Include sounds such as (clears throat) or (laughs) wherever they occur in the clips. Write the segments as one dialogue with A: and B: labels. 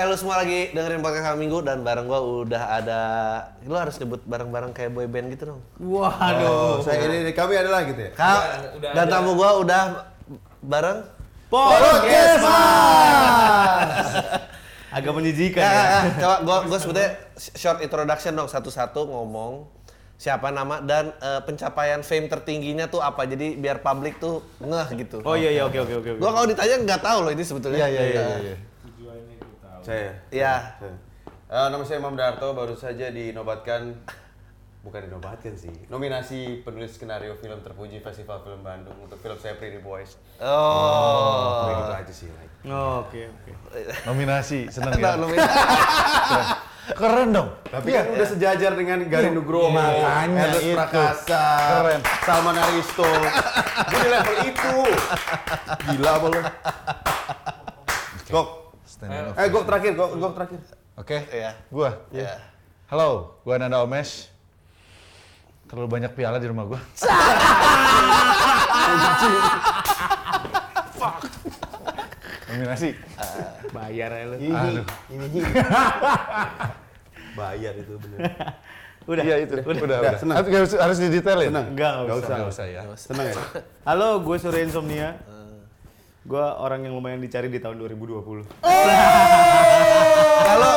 A: Eh, lu semua lagi dengerin podcast kami minggu dan bareng gua udah ada lu harus nyebut bareng-bareng kayak boy band gitu dong.
B: Oh,
C: Waduh.
B: saya ini, ini kami adalah gitu ya.
A: Kak
D: udah
A: dan
D: ada.
A: tamu gua udah bareng
C: Podcast Mas. Agak
A: Ya,
C: menjijikan
A: ya,
C: ya.
A: ya. (laughs) coba gua gua sebutnya short introduction dong satu-satu ngomong siapa nama dan eh, pencapaian fame tertingginya tuh apa. Jadi biar publik tuh ngeh gitu.
C: Oh iya iya oke oke oke. oke.
A: Gua kalau ditanya nggak tahu loh ini sebetulnya.
B: Iya iya iya iya.
D: tujuannya gue tahu
B: Saya. ya?
A: Iya.
B: saya. Eh, nama saya Imam Darto baru saja dinobatkan (laughs) bukan dinobatkan sih. Nominasi penulis skenario film terpuji Festival Film Bandung untuk film saya Pretty Boys.
A: Oh.
B: Kayak gitu aja sih. Like.
C: Oh, Oke oke.
E: Nominasi, seneng
A: Nah,
E: ya.
A: lu minta.
E: Keren dong.
B: Tapi kan udah sejajar dengan Garin Nugroho,
E: Makanya
B: Ernest
E: itu.
B: Prakasa,
E: Keren.
B: Salman Aristo. (laughs) Gue di level itu. Gila apa (laughs) lu? Gok.
E: Standing
B: Eh, gok terakhir, gok, gok terakhir.
E: Oke,
A: Iya.
E: gua.
A: Iya.
E: Halo, gua Nanda Omes. Terlalu banyak piala di rumah gua. Nominasi.
C: Bayar aja lu.
F: Iya.
E: Aduh.
B: (laughs) Bayar itu bener.
C: Udah.
E: Iya itu. Udah, udah.
B: Udah, senang.
E: Harus, harus, harus didetailin.
B: Senang?
C: Enggak, enggak
B: Nggak
C: usah.
E: Nggak usah ya.
B: Senang (laughs) ya?
C: Halo, gue Surya Insomnia. Gue orang yang lumayan dicari di tahun 2020.
A: Kalau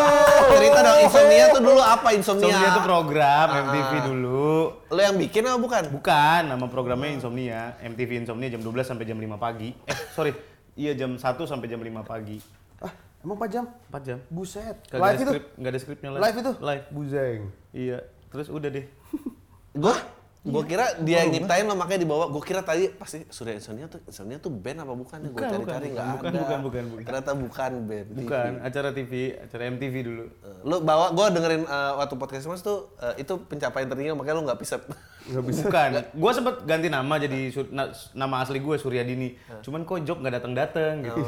A: cerita dong insomnia tuh dulu apa insomnia?
C: Insomnia itu program MTV dulu.
A: Lo yang bikin apa bukan?
C: Bukan, nama programnya Insomnia. MTV Insomnia jam 12 sampai jam 5 pagi. Eh, sorry. Iya, jam 1 sampai jam 5 pagi.
B: Ah, emang 4 jam?
C: 4 jam.
B: Buset.
C: Kagak
B: live
C: ada
B: itu?
C: skrip, nggak ada skripnya live.
B: Live itu?
C: Live.
B: Buzeng.
C: Iya. Terus udah deh.
A: Gua
C: Iya.
A: Gua kira dia
C: Oh,
A: yang nyiptain lo makanya dibawa. Gua kira tadi pasti Surya Insomnia tuh Insomnia tuh band apa bukan? ya? Gua
C: Bukan,
A: cari-cari
C: bukan,
A: nggak
C: bukan,
A: ada.
C: bukan, bukan, bukan.
A: Ternyata bukan band. eh,
C: Bukan, acara TV, acara MTV dulu.
A: Lo bawa gua dengerin eh, waktu podcast Mas tuh eh, itu pencapaian tertinggi makanya lo nggak
E: (laughs)
A: bisa.
C: Bukan, gue sempet ganti nama jadi Sur- na- nama asli gue Surya Dini. Cuman kok job nggak datang datang gitu.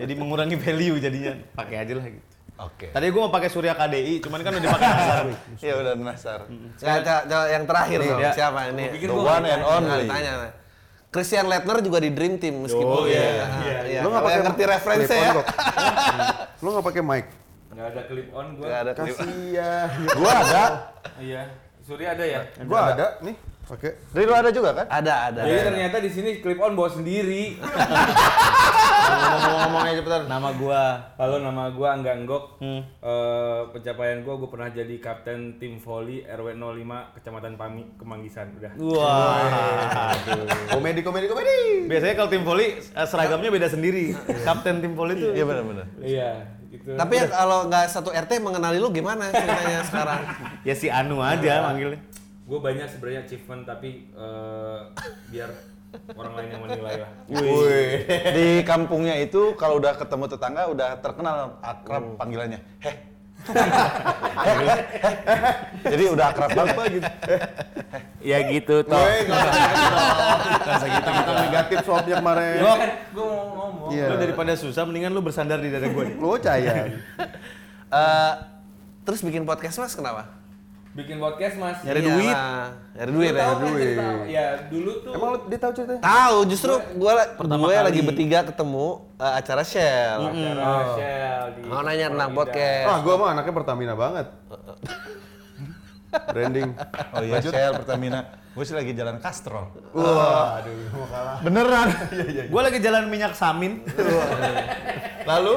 C: jadi mengurangi value jadinya. Pakai aja lah gitu.
E: Oke.
C: Tadi gue mau pakai Surya KDI, cuman kan udah dipakai Nasar.
E: Iya udah nasar.
A: Nah, ca- ca- yang terakhir dong
C: Iya.
A: siapa ini?
E: The one
B: ya?
E: and
A: Nah,
E: only.
A: tanya. Christian Lettner juga di Dream Team meskipun
C: Oh, iya,
A: iya.
C: iya.
A: Lo nggak pakai ngerti referensi ya?
B: Lu nggak pakai mic?
D: nggak ada clip on gue
A: Nggak ada klip.
B: Kasihan.
E: Gua ada.
D: iya Surya ada ya
B: Gua ada nih. Pakai.
E: Rilo ada juga kan?
A: Ada, ada.
C: Iya.
D: jadi ternyata di sini clip on bawa sendiri
C: Ngomong-ngomong aja cepetan. Nama gue.
D: halo nama gue Angga Nggok
C: Hmm.
D: Eh, pencapaian gue gue pernah jadi kapten tim voli RW 05 Kecamatan Pami Kemanggisan udah
C: Wah.
B: Komedi, komedi, komedi.
C: Biasanya kalau tim voli eh, seragamnya beda sendiri. Kapten tim voli itu.
E: Iya benar-benar.
D: iya gitu
A: Tapi ya kalau nggak satu RT mengenali lu gimana ceritanya sekarang?
C: Ya si Anu aja manggilnya.
D: gue banyak sebenarnya achievement tapi eh, biar orang lain yang menilai lah
A: Iya.
B: Wih.
E: Di kampungnya itu kalau udah ketemu tetangga udah terkenal akrab panggilannya. Heh. Heh, heh, heh. Jadi udah akrab banget gitu.
C: Ya gitu
B: Wih, nggak usah gitu dong.
E: gitu,
B: Kita negatif swabnya kemarin.
D: gue Eh, mau ngomong
B: Iya.
C: Lu daripada susah mendingan lu bersandar di dada gue.
B: Lu ya? cayan.
A: (laughs) Eh, terus bikin podcast mas kenapa?
D: bikin podcast mas
C: Nyari
A: Iya
C: duit.
A: lah, Nyari duit
D: Lu
A: ya.
D: tahu kan cerita? ya dulu tuh
B: (laughs) Emang lu dia tahu ceritanya?
A: Tahu justru gue
C: Pertama
A: gue
C: kali.
A: lagi bertiga ketemu eh, acara Shell.
D: acara Shell di
A: Mau nanya tentang
D: Florida.
A: podcast.
B: Ah, gua mah anaknya Pertamina (laughs) banget. Branding.
E: Oh iya, Shell Pertamina. Gue sih lagi jalan kastrol.
B: Wah, Ah, aduh, gua mau
D: Oh,
B: kalah.
A: (laughs)
E: Beneran.
A: Iya,
C: Gue lagi jalan minyak samin.
B: Lalu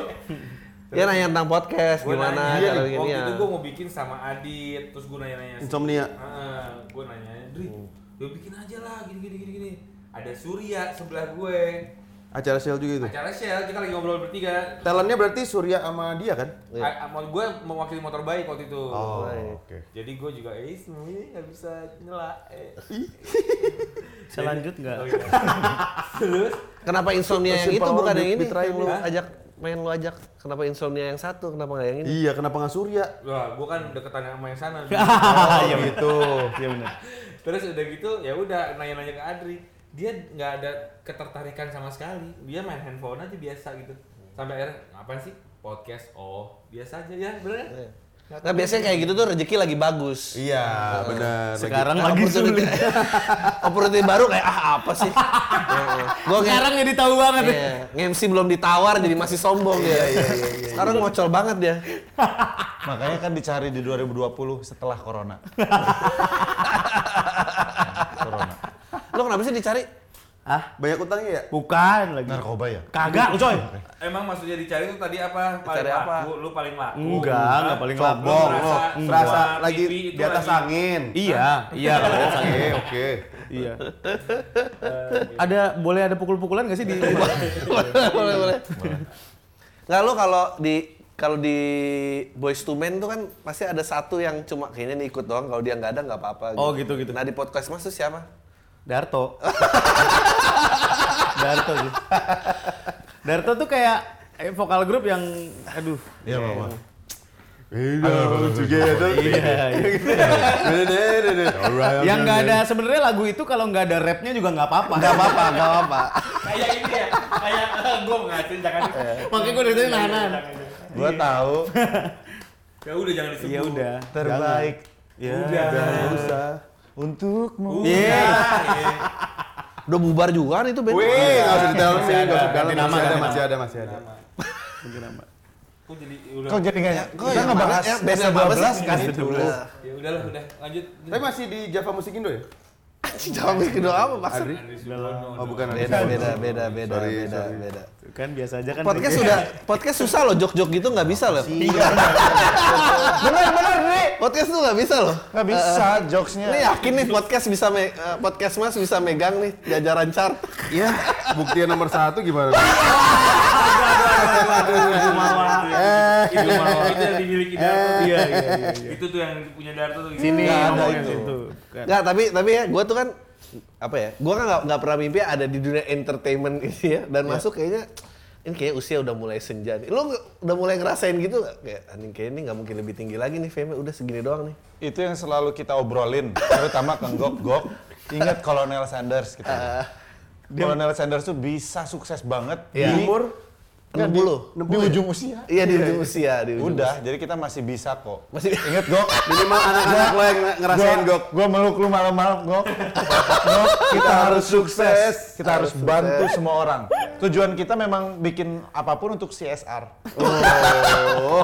A: Dia nanya tentang podcast
D: Gua
A: gimana
D: nanya,
A: cara
D: waktu
A: begini ya.
D: itu gue mau bikin sama Adit terus gue nanya-nanya
B: insomnia.
D: gue nanya Dri
A: Hmm.
D: lu bikin aja lah gini gini gini gini ada Surya sebelah gue
B: Acara sel juga itu.
D: acara Shell kita lagi ngobrol bertiga
B: Talentnya berarti Surya sama dia kan?
A: Iya.
D: A- a- gue mewakili motor baik waktu itu
B: Oh, oke.
D: jadi gue juga eh semuanya nggak bisa nyela
A: (laughs)
D: eh.
C: Bisa lanjut nggak?
D: Oh, (laughs) iya. terus
A: Kenapa insomnia
B: Simple
A: yang itu bukan
B: world,
A: yang ini?
B: we try
A: Yang lu
B: dulu.
A: ajak main lu ajak. Kenapa insomnia yang satu? Kenapa nggak yang ini?
B: Iya, kenapa nggak Surya?
D: wah gue kan deketan sama yang sana
A: (laughs)
B: Oh, gitu.
C: Iya benar.
D: terus udah gitu ya udah nanya-nanya ke Adri dia nggak ada ketertarikan sama sekali dia main handphone aja biasa gitu sampai akhirnya ngapain sih podcast oh biasa aja ya bener kan?
A: Nah biasanya kayak gitu tuh rezeki lagi bagus.
B: Iya, benar. Lagi-
C: Sekarang
A: Nah,
C: lagi
A: opportunity-
C: sulit.
A: (laughs) opportunity baru kayak ah apa sih? Gue
C: Sekarang jadi tahu banget. ya.
A: Iya, MC belum ditawar jadi masih sombong ya. Sekarang ngocol banget dia.
E: Makanya kan dicari di 2020 setelah corona. (laughs) corona.
A: Lo kenapa sih dicari?
C: Ah,
B: banyak utangnya ya?
C: bukan lagi.
E: Narkoba ya?
C: Kagak, coy.
D: Emang maksudnya dicari tuh tadi apa? Paling
A: Dicari apa?
D: laku, lu paling laku.
C: Enggak, enggak paling
D: Lu
C: laku.
B: Bong, lo
D: merasa-
B: merasa
D: Wah,
B: Oh, lagi
D: TV itu
B: di atas
D: lagi-
B: angin. Oh,
C: Iya, iya kalau
B: Oke,
C: saya sange.
B: oke.
C: Iya. ada boleh ada pukul-pukulan gak sih (laughs) di
A: boleh boleh. Nggak lo kalau di kalau di Boys to Men tuh kan pasti ada satu yang cuma kayaknya nih ikut doang kalau dia nggak ada nggak apa-apa.
C: Oh, gitu, gitu.
A: Nah di podcast mas tuh siapa?
C: Darto. (laughs) Darto sih. Darto tuh kayak eh, vokal grup yang aduh.
E: Iya, Mama.
B: Hello together. Iya, Alright.
C: yang nggak ada sebenarnya lagu itu kalau nggak ada rapnya juga nggak apa-apa. Nggak apa-apa, nggak apa-apa.
D: Kayak ini ya, kayak gue ngacin jangan.
C: (laughs) Makanya gue dari tadi nahan.
E: Gua tahu
D: Ya udah jangan disebut.
C: Ya udah.
E: terbaik.
C: Ya.
D: Udah.
E: Usaha untukmu.
C: Iya.
A: Udah bubar juga kan itu band.
B: Wih, nggak usah didalamin, nggak
C: Masih ada,
B: usah didalamin.
C: ganti nama,
B: Masih ada,
C: ganti
B: masih ada, masih ada.
C: Ganti nama.
D: Kok jadi udah.
E: Kok jadi
C: ya.
E: nggak?
A: Kok
E: Kita
A: yang
E: nggak
A: mana-
E: bahas
A: yang
E: band
A: band yang apa sih?
E: 12 kan itu.
A: Nah,
D: Ya udahlah udah lanjut.
B: Tapi masih di Java Musik Indo ya?
A: Jangan bikin doa apa maksud?
B: Adri?
D: Andri Subono.
B: Oh, bukan Adri.
A: Beda beda beda beda
B: Sorry,
A: beda
B: sorry.
A: beda.
C: Kan biasa aja kan.
A: Podcast sudah podcast susah loh jok-jok gitu nggak bisa loh.
E: Iya. Benar benar nih.
A: Podcast tuh nggak bisa loh.
E: Nggak bisa jokesnya.
A: Ini yakin nih podcast bisa me- eh, podcast Mas bisa megang nih jajaran chart.
B: Iya, buktian nomor satu gimana?
D: Itu Mawar.
B: Eh.
D: Itu Mawar. Itu yang dimiliki Darto.
C: Iya, iya, iya, iya.
D: Itu tuh yang punya Darto tuh. gitu.
C: Sini
A: Nggak ada
C: ngomongnya
A: itu.
C: situ. Kan.
A: Nggak, tapi tapi ya gue tuh kan apa ya? Gue kan nggak- nggak pernah mimpi ada di dunia entertainment (laughs) ini ya dan masuk kayaknya ini kayak usia udah mulai senja nih. Lo nggak- udah mulai ngerasain gitu nggak? Kayak anjing kayak ini nggak mungkin lebih tinggi lagi nih fame udah segini doang nih.
E: Itu yang selalu kita obrolin, terutama ke Gok-Gok. Ingat Kolonel Sanders kita. Kolonel Sanders tuh bisa sukses banget
A: Iya.
E: di
A: Umur
E: Nggak, di-
A: 60.
E: Di ujung usia.
A: Iya di ujung usia di ujung
E: Udah, jadi kita masih bisa kok.
A: Masih-
E: inget Gok?
B: Minimal anak-anak lo yang ngerasain
E: Gua-
B: gok.
E: Gua meluk lu malam-malam, Gok. Gok, kita harus sukses. Kita harus bantu semua orang. Tujuan kita memang bikin apapun untuk CSR.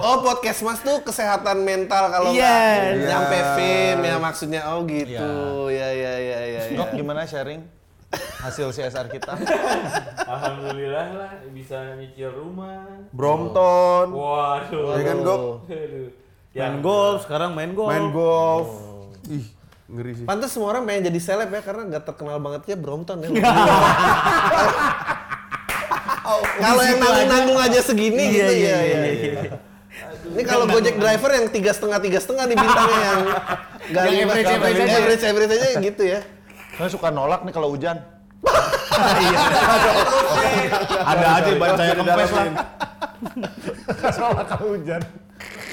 A: Oh, podcast mas tuh kesehatan mental kalau nggak Iya.
C: Yes. Iya.
A: nyampe
B: Yes.
A: fame ya maksudnya oh gitu ya ya ya ya. ya.
E: Gok, gimana sharing hasil CSR kita?
D: Alhamdulillah lah bisa nyicil rumah.
B: Brompton,
D: Waduh.
B: ya kan gok?
D: Aduh.
C: Main golf, sekarang main golf.
B: Main golf. Ih, ngeri sih.
A: Pantes semua orang pengen jadi seleb ya karena nggak terkenal banget ya Brompton (laughs)
C: Iya.
A: ya. Oh, kalau yang nanggung nanggung aja segini
C: Iya,
A: gitu ya. ya, ya. Ini kalau Gojek driver yang tiga setengah tiga setengah nih bintangnya yang nggak
C: Yang
A: lima-
C: average- average aja.
A: average average aja gitu ya.
E: Kan suka nolak nih kalau
C: (laughs)
E: hujan.
C: Iya.
E: (laughs)
C: Ada aja ban saya kempes lah.
E: nolak kalau hujan.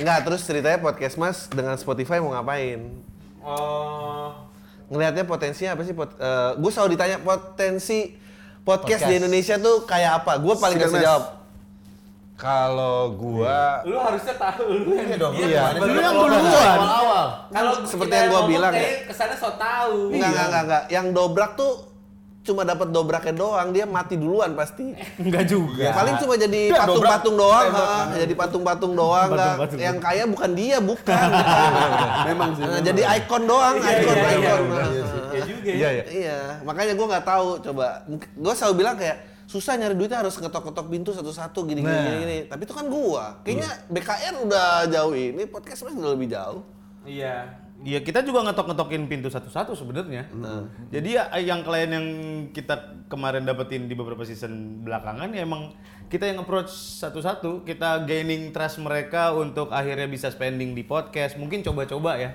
A: Nggak terus ceritanya podcast mas dengan Spotify mau ngapain?
D: Oh.
A: ngelihatnya potensinya apa sih? Pot, gue selalu ditanya potensi podcast, di
E: Podcast.
A: Indonesia tuh kayak apa? Gue paling gak bisa
B: Sikat, Mas.
A: jawab.
E: Kalau gua
D: Lu harusnya tahu lu yang
E: Iya dong,
D: dia
E: iya.
D: baru-
C: Lu yang duluan.
E: awal
D: Kalau
A: Seperti
D: kita
A: yang gua
D: ngomong
A: bilang ya. Iya,
D: kayak gitu. Kesannya so tahu.
A: Enggak, enggak, enggak, enggak. Yang dobrak tuh cuma dapat dobraknya doang, dia mati duluan pasti.
C: Enggak juga.
A: Paling cuma jadi
B: Dia
A: patung-patung doang, ah, jadi patung-patung doang. nggak.
C: Patung-patung.
A: Yang kaya bukan dia, bukan.
B: Memang sih.
A: Nah,
B: memang.
A: jadi ikon doang,
D: Iya,
A: ikon,
D: iya, iya,
A: ikon.
D: benar.
A: Nah,
D: Ya
E: Iya,
D: juga. ya.
E: iya.
A: Iya, makanya gue nggak tahu. Coba, gue selalu bilang kayak susah nyari duitnya harus ngetok-ketok pintu satu-satu gini-gini
E: Nah.
A: gini, gini. Tapi itu kan gua. Kayaknya BKR udah jauh ini, podcast mas udah lebih jauh.
D: Iya.
C: Iya kita juga ngetok-ngetokin pintu satu-satu sebenarnya. Jadi ya yang klien yang kita kemarin dapetin di beberapa season belakangan ya emang kita yang approach satu-satu, kita gaining trust mereka untuk akhirnya bisa spending di podcast. Mungkin coba-coba ya.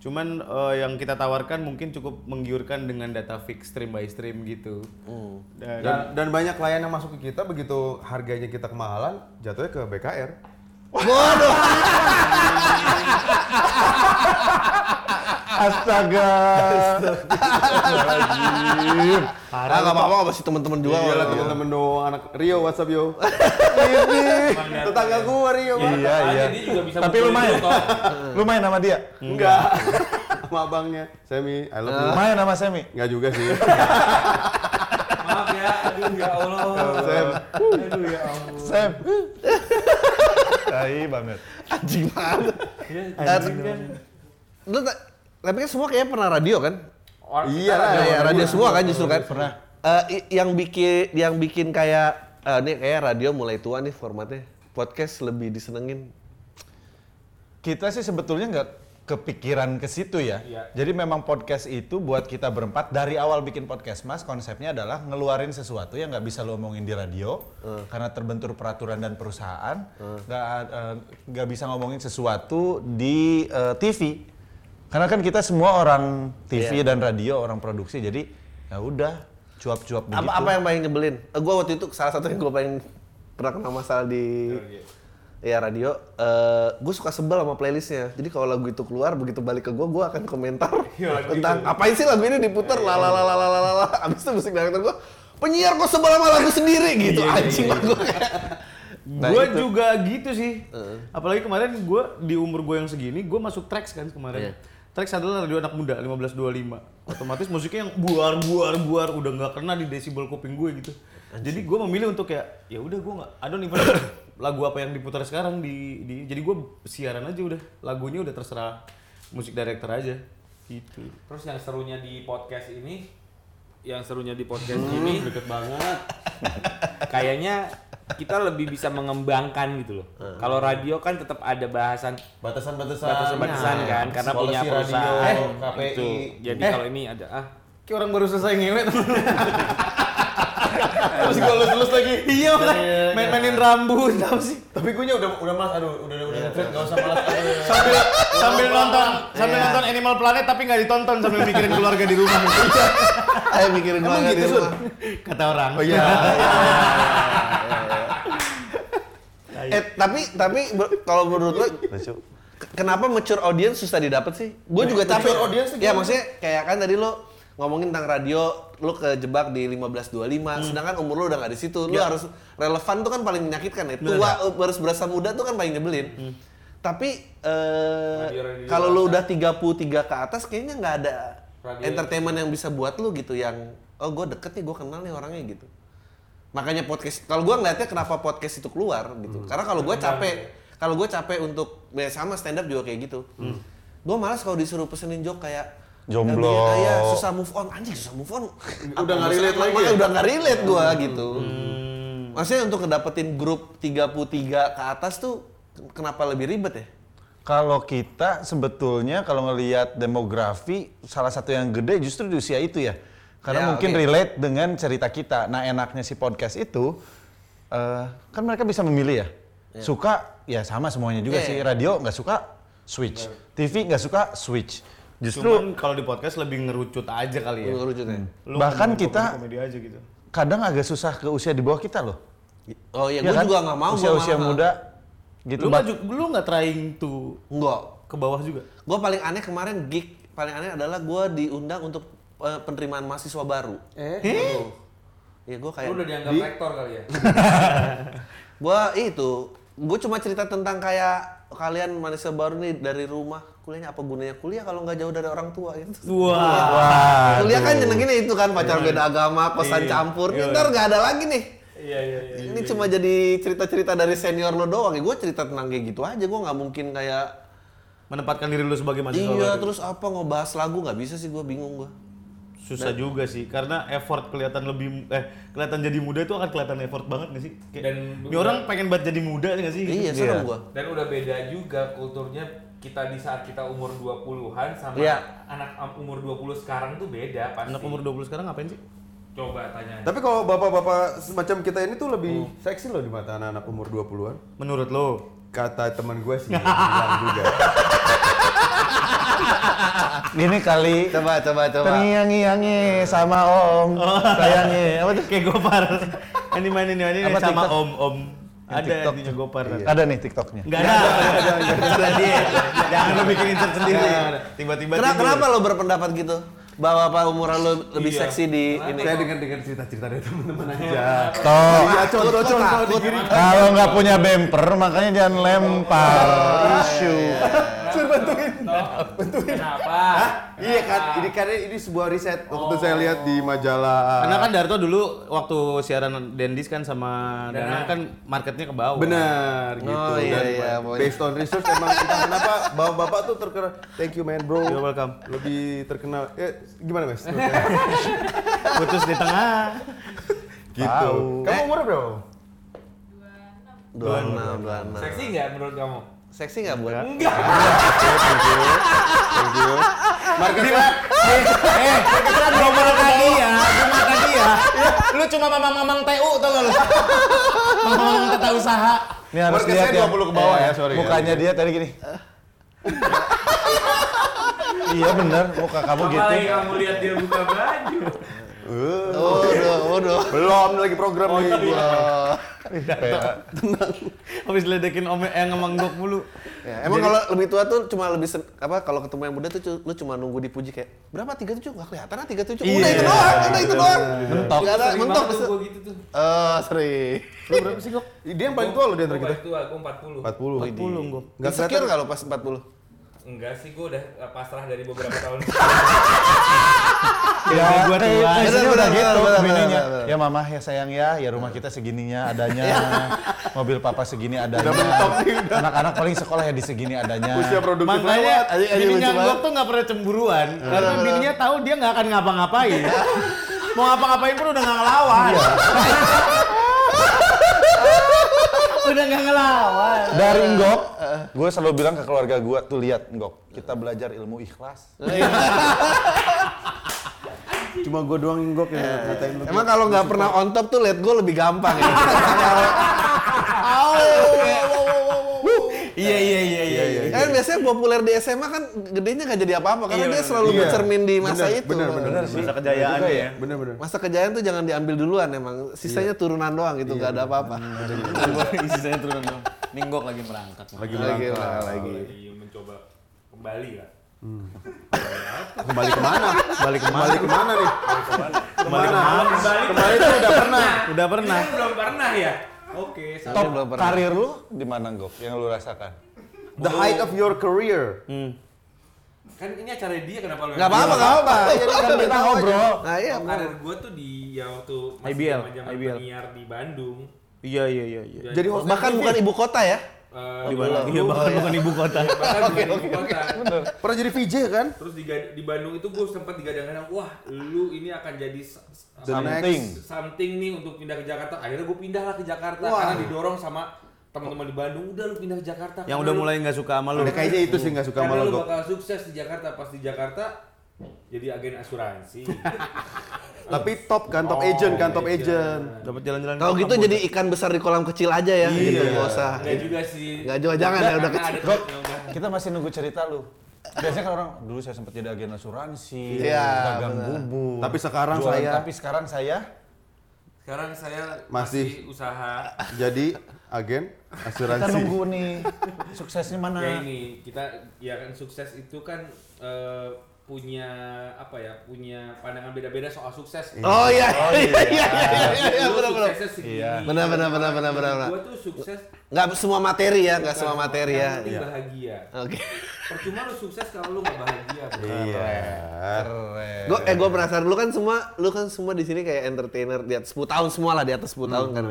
C: Cuman eh, yang kita tawarkan mungkin cukup menggiurkan dengan data fix stream by stream gitu. Dan-
B: dan, dan banyak klien yang masuk ke kita begitu harganya kita kemahalan, jatuhnya ke BKR.
A: Waduh.
E: Astaga.
A: Ah, nggak apa-apa masih teman-teman juga.
B: Iya lah
A: Bang.
B: temen-temen doang anak Rio WhatsApp yo. (laughs)
D: Mandar-
B: Tetangga gua Rio.
E: Iya,
D: Makanya
E: iya.
D: dia juga bisa
E: Tapi
D: butuhin
E: lumayan.
D: lu kok.
E: Lumayan sama dia.
B: Enggak. (laughs) Sama abangnya. Semi, I love you.
E: Lumayan sama Semi.
B: Enggak juga (laughs) sih.
D: Maaf ya, aduh ya Allah.
B: Sam.
D: Aduh ya Allah.
E: Sem. Tai banget.
A: Anjing banget.
D: Ya,
A: Anjing Lu ta- tapi kan semua kayaknya pernah radio kan?
D: orang-
B: Iya lah.
A: Nah, ya, radio semua kan justru kan?
E: Pernah.
A: Eh, i- yang bikin yang bikin kayak eh, nih kayak radio mulai tua nih formatnya. Podcast lebih disenengin.
E: Kita sih sebetulnya nggak kepikiran ke situ ya.
D: Iya.
E: Jadi memang podcast itu buat kita berempat dari awal bikin podcast Mas konsepnya adalah ngeluarin sesuatu yang nggak bisa lo omongin di radio
B: Eh.
E: karena terbentur peraturan dan perusahaan nggak eh, nggak bisa ngomongin sesuatu di eh, TV karena kan kita semua orang TV
B: Iya.
E: dan radio orang produksi jadi ya udah cuap-cuap begitu.
A: Apa apa yang paling nyebelin? Eh, gua waktu itu salah satu yang gua paling pernah kena masalah di ya radio eh gue suka sebel sama playlistnya jadi kalau lagu itu keluar begitu balik ke gue gue akan komentar tentang apain sih lagu ini diputar la la la la la la la abis itu musik director gue penyiar kok sebel sama lagu sendiri gitu anjing lah gue kayak Nah,
C: gue
A: gitu.
C: juga gitu sih. Apalagi kemarin gue di umur gue yang segini, gue masuk tracks kan
A: Iya.
C: kemarin. Trax adalah radio anak muda 1525. Otomatis musiknya yang buar buar buar udah nggak kena di desibel kuping gue gitu. Jadi gue memilih untuk kayak ya udah gue nggak ada nih (coughs) lagu apa yang diputar sekarang di, di jadi gue siaran aja udah lagunya udah terserah musik director aja gitu.
D: Terus yang serunya di podcast ini, yang serunya di podcast ini deket banget. (laughs) Kayaknya kita lebih bisa mengembangkan gitu loh. Kalau radio kan tetap ada bahasan
B: Batasan-batasan.
D: batasan-batasan
E: Nah,
D: kan karena punya
B: Polisi
D: perusahaan
B: radio,
D: eh,
B: KPI.
D: gitu. Jadi kalau ini ada ah
C: Kayak orang baru selesai ngewet. (laughs)
B: Terus gua lulus-lulus lagi.
C: iya, main-mainin rambut tau sih.
B: Tapi gue udah udah malas aduh udah udah ngetrend enggak usah (laughs) malas aduh.
C: sambil (laughs) sambil nonton Iya. sambil nonton Animal Planet tapi nggak ditonton sambil mikirin keluarga di (laughs) rumah
A: (laughs) ayo mikirin gue gitu, di rumah
C: kata orang
B: Oh iya.
A: eh tapi tapi ber- kalau menurut lo ke- kenapa mature audience susah didapat sih gue juga capek
B: mature audience tuh
A: ya
B: gimana?
A: maksudnya kayak kan tadi lo ngomongin tentang radio lo kejebak di 1525
B: Hmm.
A: sedangkan umur lo udah nggak di situ lo
B: Ya.
A: harus relevan tuh kan paling menyakitkan ya tua eh, harus berasa muda tuh kan paling nyebelin
B: Hmm.
A: tapi eh,
D: Radio-radio
A: kalau lo
D: dewasa.
A: udah 33 ke atas kayaknya nggak ada
D: Radio-
A: entertainment yang bisa buat lo gitu yang oh gue deket nih gue kenal nih orangnya gitu makanya podcast kalau gue ngeliatnya kenapa podcast itu keluar gitu
B: Hmm.
A: karena kalau gue capek kalau gue capek untuk ya sama stand up juga kayak gitu
B: Hmm.
A: gue malas kalau disuruh pesenin joke kayak "Nggak
E: Jomblo.
A: bikin, ah, ya, susah move on anjing susah move on
B: Udah nggak relate lagi
A: Makanya
B: ya? Hmm.
A: udah nggak relate gue gitu maksudnya untuk ngedapetin grup 33 ke atas tuh ken- kenapa lebih ribet ya
E: Kalau kita sebetulnya kalau ngelihat demografi salah satu yang gede justru di usia itu ya. Karena
A: Ya,
E: mungkin
A: oke.
E: relate dengan cerita kita. Nah, enaknya si podcast itu eh, kan mereka bisa memilih ya. Suka ya sama semuanya juga
A: Ya,
E: sih.
A: ya.
E: Radio nggak suka switch. TV nggak suka switch. Justru
C: justru kalau di podcast lebih ngerucut aja kali
E: Iya.
C: ya
A: ngerucutnya
E: Hmm.
C: Lu
E: Bahkan
C: ngomongin
E: kita-
C: komedi-komedi aja gitu
E: kadang agak susah ke usia di bawah kita loh.
A: oh iya
E: Ya
A: gue
E: kan?
A: juga nggak mau gua
E: Usia-usia
A: malah.
E: muda gitu.
C: lu
E: Bang.
C: nggak ju- lu nggak trying to
A: nggak
C: ke bawah juga
A: gue paling aneh kemarin gig paling aneh adalah gue diundang untuk eh, penerimaan mahasiswa baru
B: Eh,
A: ya gue kayak
D: lu udah dianggap rektor kali ya.
A: gue itu gue cuma cerita tentang kayak kalian manusia baru nih dari rumah kuliahnya apa gunanya kuliah kalau nggak jauh dari orang tua gitu
C: wah
E: Wah.
A: kuliah kan nyenenginnya itu kan pacar beda agama kosan campur Ini ntar nggak ada lagi nih
D: Iya iya iya.
A: ini cuma jadi cerita-cerita dari senior lo doang ya gue cerita tentang kayak gitu aja gue nggak mungkin kayak
C: menempatkan diri lu sebagai mahasiswa
A: iya
C: baru.
A: terus apa ngebahas lagu nggak bisa sih gue bingung gue
C: susah
A: Nah.
C: juga sih karena effort kelihatan lebih eh kelihatan jadi muda itu akan kelihatan effort banget nggak sih kayak
D: Dan-
C: ini orang pengen banget jadi muda nggak sih
A: iya
E: Iya.
A: serem gue
D: Dan udah beda juga kulturnya kita di saat kita umur 20-an sama
A: Iya.
D: anak am- umur 20 sekarang tuh beda pasti.
C: anak umur 20 sekarang ngapain sih
D: Coba tanya.
B: Tapi kalau bapak-bapak semacam kita ini tuh lebih seksi loh di mata anak-anak umur 20-an.
C: menurut lo
B: Kata teman gue (laughs) sih, dia bilang juga.
E: Ini kali
A: coba coba coba
E: Terngiang-ngiangi sama om. Sayangi. Apa tuh?
C: Kayak gue par. Ini mainin ini
E: Apa
C: sama
E: TikTok?
C: om om.
E: Yang
C: Ada
E: TikTok
C: intinya
E: tuh. Iya.
C: Gopar.
E: Ada nih TikToknya.
C: Enggak ada. Karena dia. Jangan lu bikin insert sendiri. Tiba-tiba
A: Kenapa,
C: timbul.
A: kenapa lo berpendapat gitu? Bahwa apa umuran lo lebih
D: Iya.
A: seksi di ini?
F: Saya dengar-dengar cerita-cerita dari teman-teman
C: Iya.
F: aja.
E: Tuh,
B: Ya,
A: Takut, lo takut.
E: kalau nggak punya bemper makanya jangan lempar isu.
D: Kenapa?
F: Iya kan,
B: Ah.
F: ini karena ini sebuah riset waktu
B: Oh.
F: saya lihat di majalah.
C: Karena kan Darto dulu waktu siaran Dendis kan sama Danang kan marketnya ke bawah.
F: Benar gitu.
A: iya,
F: Dan
A: iya, pokoknya.
F: based on research emang entah kenapa bapak-bapak tuh terkenal. Thank you man bro.
C: You're welcome.
F: Lebih terkenal. Eh gimana mas?
C: Putus di tengah.
F: gitu.
C: Kan
F: Kamu umur berapa? Bang?
A: Dua enam, dua enam.
D: Seksi nggak menurut kamu?
A: Seksi nggak buat?
D: Enggak.
F: Thank you. Marketing.
C: Eh, kita ngomong tadi ya, ngomong tadi ya. Lu cuma mamang-mamang TU tau gak lu? Mamang-mamang tata usaha.
E: Ini harus
F: Marketnya
E: lihat ya.
F: 20 ke bawah ya, sorry ya.
E: Mukanya dia tadi gini. iya bener, muka kamu gitu.
D: Apalagi kamu lihat dia buka baju.
A: Oh, udah, udah.
F: Eh, Belum lagi program nih. gua.
A: Oh.
E: Ya,
C: Habis ledekin om yang ngemanggok mulu.
A: Ya, emang kalau lebih tua tuh cuma lebih sen- apa kalau ketemu yang muda tuh cu- lu cuma nunggu dipuji kayak berapa 37 nggak kelihatan ah 37 udah itu doang udah itu doang mentok ada
D: Sering
A: mentok
D: banget tuh gua gitu tuh.
A: eh sering
F: Lu berapa sih kok? Dia yang paling tua loh di antara kita.
D: Gua tua, gua
F: 40.
D: 40.
C: 40 gua.
F: Nggak
A: insecure kalau pas 40
D: Enggak sih, gua udah eh, pasrah dari beberapa tahun.
E: Ya,
C: gua
E: eh,
A: Bener,
C: tua.
E: eh, Isinya
A: bener,
E: udah gitu,
A: bener, bener,
E: bininya.
A: bener, bener.
E: Ya mamah ya sayang ya, ya rumah kita segininya adanya. Mobil papa segini adanya. Anak-anak paling sekolah ya di segini adanya.
F: Usia produktif
C: Makanya
F: lewat. Ayo, ayo,
C: bininya
F: lucu
C: gua
F: banget.
C: tuh nggak pernah cemburuan karena bininya tahu dia nggak akan ngapa-ngapain. Mau ngapa-ngapain pun udah nggak ngelawan. (laughs) udah nggak ngelawan.
E: Dari Ngok, gue selalu bilang ke keluarga gue, tuh lihat Ngok, kita belajar ilmu ikhlas.
F: Cuma gua doang yang gok ya ngatain lu.
A: emang kalau nggak pernah on top tuh lihat gue lebih gampang ya
C: Iya iya iya iya. iya.
A: kan biasanya populer di SMA kan gedenya nggak jadi apa-apa karena
C: Iya,
A: dia selalu
F: Iya.
A: bercermin di masa
F: Bener,
A: itu
F: Bener bener
C: sih. Masa kejayaan
F: Bener juga
C: ya. (laughs)
F: Bener bener.
A: masa kejayaan tuh jangan diambil duluan emang sisanya turunan doang gitu nggak ada apa-apa
C: Isi saya turun dong. Ninggok lagi merangkak.
F: Lagi
A: lagi
F: melangkah.
A: lah lagi
D: Iya, mencoba kembali lah.
F: Kembali kemana? Kembali kemana? Kembali kemana nih?
C: Kembali kemana?
D: Kembali tuh udah pernah.
C: Udah pernah.
D: Belum pernah ya? Oke, sama.
E: Top
A: belum pernah.
E: karir lu di mana Ngok, yang lu rasakan?
F: The height of your career.
D: Kan ini acara dia kenapa lu?
A: nggak apa-apa nggak apa-apa Iya,
E: Kan kita ngobrol.
A: nah iya
D: Karir gua tuh di ya waktu masih
C: IBL,
D: zaman-zaman
C: IBL.
D: penyiar di Bandung.
C: Iya iya iya. iya.
D: Jadi,
F: Jadi host
A: bahkan bukan ibu kota ya
D: eh,
C: Di mana?
D: dulu-
C: Iya bahkan bukan ibu kota.
A: (laughs)
D: bahkan bukan ibu kota.
F: pernah jadi VJ kan?
D: Terus di, Ga- di Bandung itu gue sempat digadang-gadang, wah lu ini akan jadi s- s-
E: The
D: apa ya,
E: next.
D: s- something nih untuk pindah ke Jakarta. Akhirnya gue pindah lah ke Jakarta
F: Wah.
D: karena didorong sama teman-teman di Bandung, udah lu pindah ke Jakarta.
C: Yang
D: karena
C: udah
D: lu-
C: mulai nggak suka sama lu.
F: Udah kayaknya itu sih nggak suka
D: karena
F: sama
D: lu
F: logo.
D: bakal sukses di Jakarta, pas di Jakarta jadi agen asuransi.
F: Tapi top kan, top agent kan, top agent.
C: Dapat jalan-jalan.
A: Kalau
C: ke
A: gitu
C: kampus.
A: jadi ikan besar di kolam kecil aja ya. Gitu nggak usah.
D: Enggak juga sih.
A: Nggak juga, jangan ya, udah
D: karena
A: kecil.
D: ada
E: Bro.
D: temennya udah.
E: Kita masih nunggu cerita lu. Biasanya kan orang dulu saya sempat jadi agen asuransi,
A: Iya,
E: dagang
A: benar.
E: bubur.
F: Hmm. Tapi sekarang
E: jualan-
F: saya-
E: tapi sekarang saya
D: Sekarang saya
F: Masih.
D: masih usaha
F: Jadi agen
E: kita
F: asuransi.
E: nunggu nih suksesnya mana.
D: ya ini kita ya kan sukses itu kan eh, punya apa ya punya pandangan beda-beda soal sukses
A: Oh iya. (laughs) Iya iya iya iya iya
D: Lu
A: benar benar.
D: suksesnya segini.
E: Iya.
A: Benar, benar, benar, benar, benar, benar.
D: Gua tuh sukses
A: Enggak semua materi ya, enggak semua
D: bukan-
A: materi
D: yang
A: ya.
D: penting
A: Iya.
D: bahagia.
A: Oke.
D: Percuma lu sukses kalau lu nggak bahagia. bro.
F: Iya.
E: Keren.
A: Gua eh gua penasaran lu kan semua lu kan semua di sini kayak entertainer di atas 10 tahun semua lah di atas 10 tahun kan.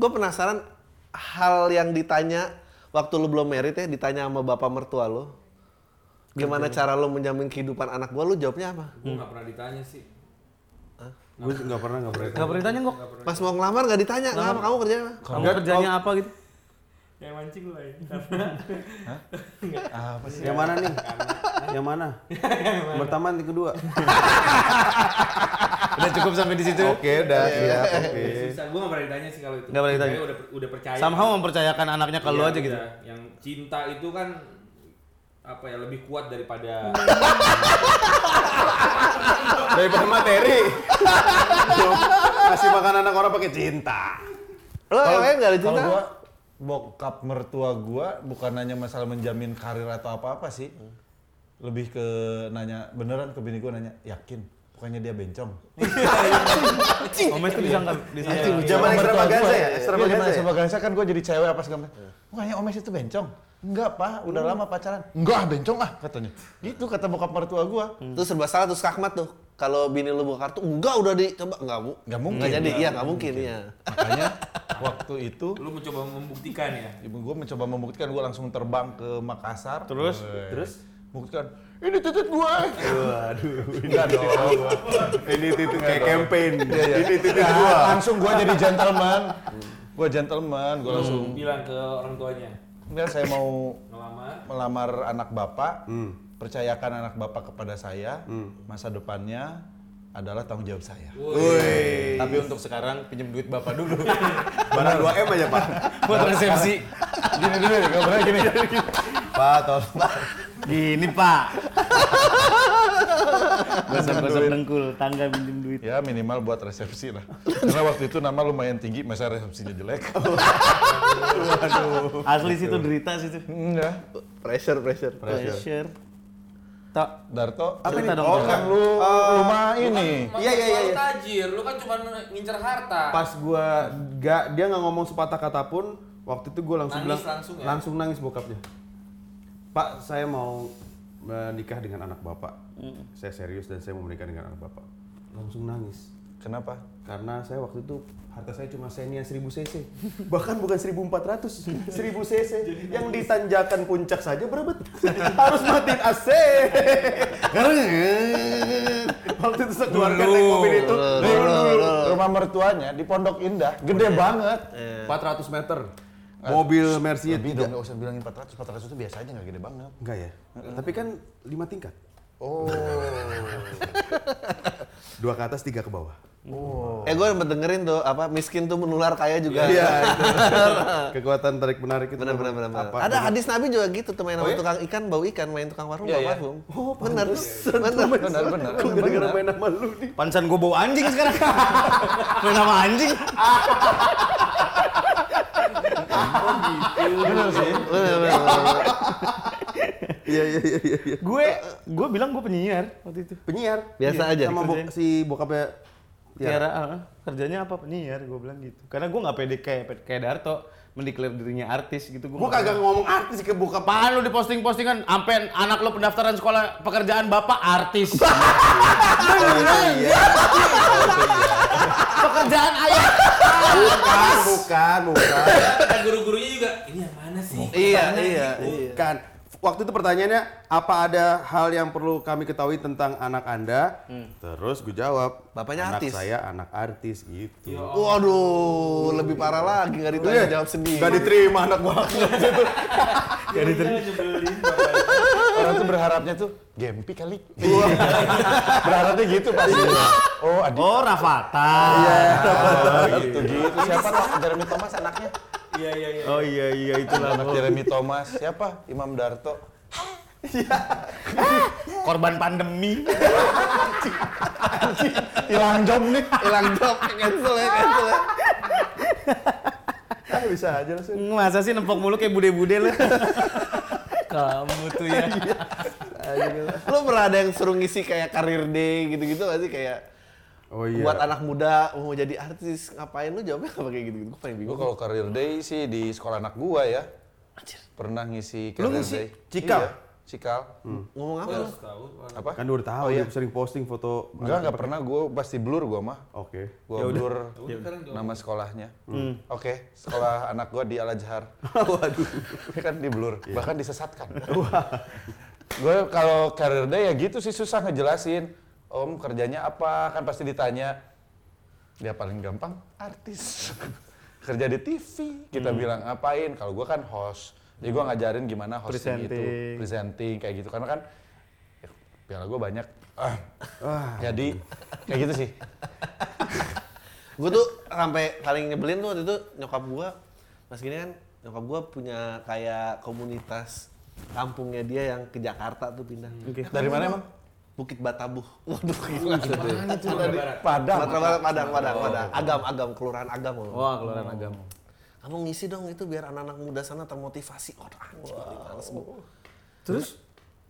A: Gua penasaran hal yang ditanya waktu lu belum merit ya ditanya sama bapak mertua lu. Gimana cara lu menjamin kehidupan anak gua? Lu jawabnya apa?
D: Gua nggak pernah ditanya sih.
F: Gue nggak pernah nggak pernah.
C: Nggak pernah tanya kok.
A: Pas mau ngelamar nggak ditanya, kenapa kamu kerjanya apa?
C: Kamu kerjanya apa gitu?
D: Kayak mancing lah ya.
E: Apa sih?
F: Yang mana nih? Yang mana? Pertama nanti kedua.
C: Udah cukup sampai di situ.
F: Oke, udah siap.
A: Iya.
D: (laughs)
F: Oke.
D: Susah. Gua nggak pernah ditanya sih kalau itu.
C: Nggak pernah ditanya.
D: Kayaknya Udah, udah percaya.
C: Somehow mempercayakan anaknya ke lu
D: Iya,
C: aja gitu.
D: udah. Yang cinta itu kan apa ya lebih kuat
A: (laughs)
D: daripada
F: Daripada materi. Masih makan anak orang pakai cinta.
A: Lo emangnya eh, nggak ada
E: Kalau
A: cinta?
E: gua bokap mertua gua bukan nanya masalah menjamin karir atau apa-apa sih. Lebih ke nanya beneran ke bini gua nanya, "Yakin? Bukannya dia bencong?"
C: Komen itu disangkal, disangkal.
F: Zaman
E: Iya. mertua
F: extravaganza
E: gua.
F: ya?
E: Iya,
F: Extravaganza
E: zaman
F: ya?
E: extravaganza kan gua jadi cewek apa segala macam. Bukannya Omes itu bencong? Enggak, Pak. Udah lama pacaran. Enggak, ah, bencong ah katanya. Gitu kata bokap mertua gua.
A: Terus serba salah terus kakmat tuh. Kalau bini lu buka kartu, enggak udah dicoba, enggak mu.
E: Nggak mungkin.
A: Enggak jadi, iya enggak mungkin ya.
E: Makanya waktu itu
D: Lu mencoba membuktikan ya.
E: ibu gue mencoba membuktikan gue langsung terbang ke Makassar
C: Terus?
E: terus buktikan ini titik gue (laughs) waduh enggak dong
F: Ini titik kayak campaign. Ini titik
E: Enggak,
F: gua.
E: langsung gue jadi gentleman gue gentleman gue langsung
A: Hmm.
D: Bilang ke orang tuanya.
E: enggak saya mau
D: Ngelamar.
E: melamar anak bapak percayakan anak bapak kepada saya masa depannya adalah tanggung jawab saya
F: Woi.
E: tapi untuk sekarang pinjam duit bapak dulu
F: Barang 2 M aja pak.
E: buat resepsi (laughs) gini dulu ya kabarnya gini
F: Pak, tolong.
C: Gini pak. Basah-basah dengkul, tangga minjem duit.
E: Ya minimal buat resepsi lah. Karena waktu itu nama lumayan tinggi, masa resepsinya jelek. (laughs)
C: Asli situ derita situ.
E: Enggak.
A: Pressure, pressure.
C: Pressure. Tak.
E: Darto,
C: Iya. Apa
E: cerita
C: ini?
E: dong
C: Oh,
E: kan lu rumah ini.
F: Iya, iya, iya,
D: Lu
F: iya.
D: tajir, lu kan cuma ngincer harta.
F: Pas gua gak, dia nggak ngomong sepatah kata pun. Waktu itu gua langsung bilang,
D: Nangis langsung ya?
F: langsung nangis bokapnya. Pak, saya mau menikah dengan anak bapak. Saya serius dan saya mau menikah dengan anak bapak. Langsung nangis.
E: Kenapa?
F: Karena saya waktu itu harta saya cuma senian 1000 cc. Bahkan bukan 1400, 1000 cc. Yang ditanjakan puncak saja berebet. Harus matiin AC. eh, waktu itu sekeluarga naik mobil itu
E: Dulu, rumah mertuanya di Pondok Indah, Eh, gede banget.
F: 400 meter. Mobil Mercy
E: Lebih dong, nggak usah bilangin 400, 400 itu biasa aja nggak gede banget.
F: Enggak ya. Tapi kan 5 tingkat.
E: Oh,
F: (laughs) Dua ke atas, tiga ke bawah.
A: Eh gue sempet dengerin tuh apa miskin tuh menular kaya juga.
F: itu. (laughs) Kekuatan tarik menarik itu.
A: Benar benar benar. benar.
F: Apa?
A: Ada hadis Nabi juga gitu tuh main sama
F: Oh, iya?
A: tukang ikan bau ikan main tukang warung bau
E: Iya, iya.
A: parfum. Oh, benar. Benar benar benar.
F: Gua Gara-gara main sama lu nih.
C: Pansan gue bawa anjing sekarang. (laughs) Main sama anjing.
E: bener sih.
F: Iya, iya, iya, iya. iya.
C: Gue gue bilang gue penyiar waktu itu.
F: Penyiar. Iya,
A: Biasa aja.
F: Sama bo-
C: Kerjanya.
F: si bokapnya
A: Iya.
F: Tiara.
C: Tiara, ah, kerjanya apa penyiar? Gue bilang gitu. Karena gue nggak pede kayak kayak Darto mendeklar dirinya artis gitu.
F: Gua
C: nggak
F: kagak ngomong artis ke bokap.
C: Apaan lu di posting-postingan? Ampen anak lu pendaftaran sekolah pekerjaan bapak artis.
A: (laughs)
F: Iya.
C: pekerjaan ayah.
F: Bukan, bukan, bukan.
D: Kata Kan guru-gurunya juga, ini yang mana sih?
A: Iya iya.
F: Bukan. Waktu itu pertanyaannya, apa ada hal yang perlu kami ketahui tentang anak Anda?
C: Hmm.
F: Terus gue jawab,
A: Bapaknya
F: anak
A: artis."
F: saya anak artis
B: Ya
F: gitu.
A: Waduh, lebih parah lagi Iya. nggak ditanya jawab sendiri.
F: Gak diterima anak gua.
D: Jadi
C: gitu. Iya,
D: nyebelin bapak.
E: Orang tuh berharapnya tuh gempi kali. (laughs) berharapnya gitu pasti. Oh, adik.
C: Oh, Rafata.
E: Oh, gitu gitu. Siapa tuh Jeremy Thomas anaknya?
D: Iya iya iya.
C: Oh iya iya itulah.
E: Anak Jeremy Thomas. Siapa? Imam Darto.
C: Korban pandemi.
E: Hilang job nih.
A: Hilang job, cancel ya, cancel ya.
F: Ah, bisa aja lah, Sun.
C: Masa sih nempok mulu kayak bude-bude lu? (laughs) Kamu tuh ya.
A: Lu pernah ada yang suruh ngisi kayak karir day gitu-gitu gak sih kayak
F: Oh iya.
A: buat anak muda mau jadi artis ngapain lu jawabnya apa kayak gitu-gitu gue paling
E: Gue
A: bingung.
E: kalau career day sih di sekolah anak gua ya. Pernah ngisi career
F: ngisi?
E: day.
F: Cikal?
E: Iya, Cikal.
A: Ngomong apa lu?
E: Apa?
F: Kan
C: Oh
F: udah tahu
C: iya.
F: ya, sering posting foto.
E: Enggak, enggak pernah. Gue pasti blur gua mah.
F: Oke.
E: Gue blur nama sekolahnya. Oke, sekolah (laughs) anak gua di Al Azhar. Hmm. (laughs) Waduh. kan di blur, bahkan (laughs) disesatkan. gue kalau career day ya gitu sih susah ngejelasin. Om kerjanya apa? Kan pasti ditanya. Dia paling gampang artis. (laughs) Kerja di TV. Kita bilang ngapain? Kalau gua kan host. Jadi gua ngajarin gimana hosting itu,
C: Presenting.
E: presenting kayak gitu. Karena kan ya, piala gue banyak. Ah. Jadi kayak gitu sih.
A: gue tuh sampai paling nyebelin tuh waktu itu nyokap gua mas gini kan nyokap gua punya kayak komunitas kampungnya dia yang ke Jakarta tuh pindah
E: Dari mana emang?
A: Bukit Batabuh (laughs) waduh gila
D: Sumatera Barat.
E: Padang.
A: Sumatera Barat, Padang Padang Padang Agam Agam Kelurahan Agam loh
C: Wah, Oh, keluaran agama.
A: kamu ngisi dong itu biar anak-anak muda sana termotivasi. Oh, anjing, paling males gua.
C: Terus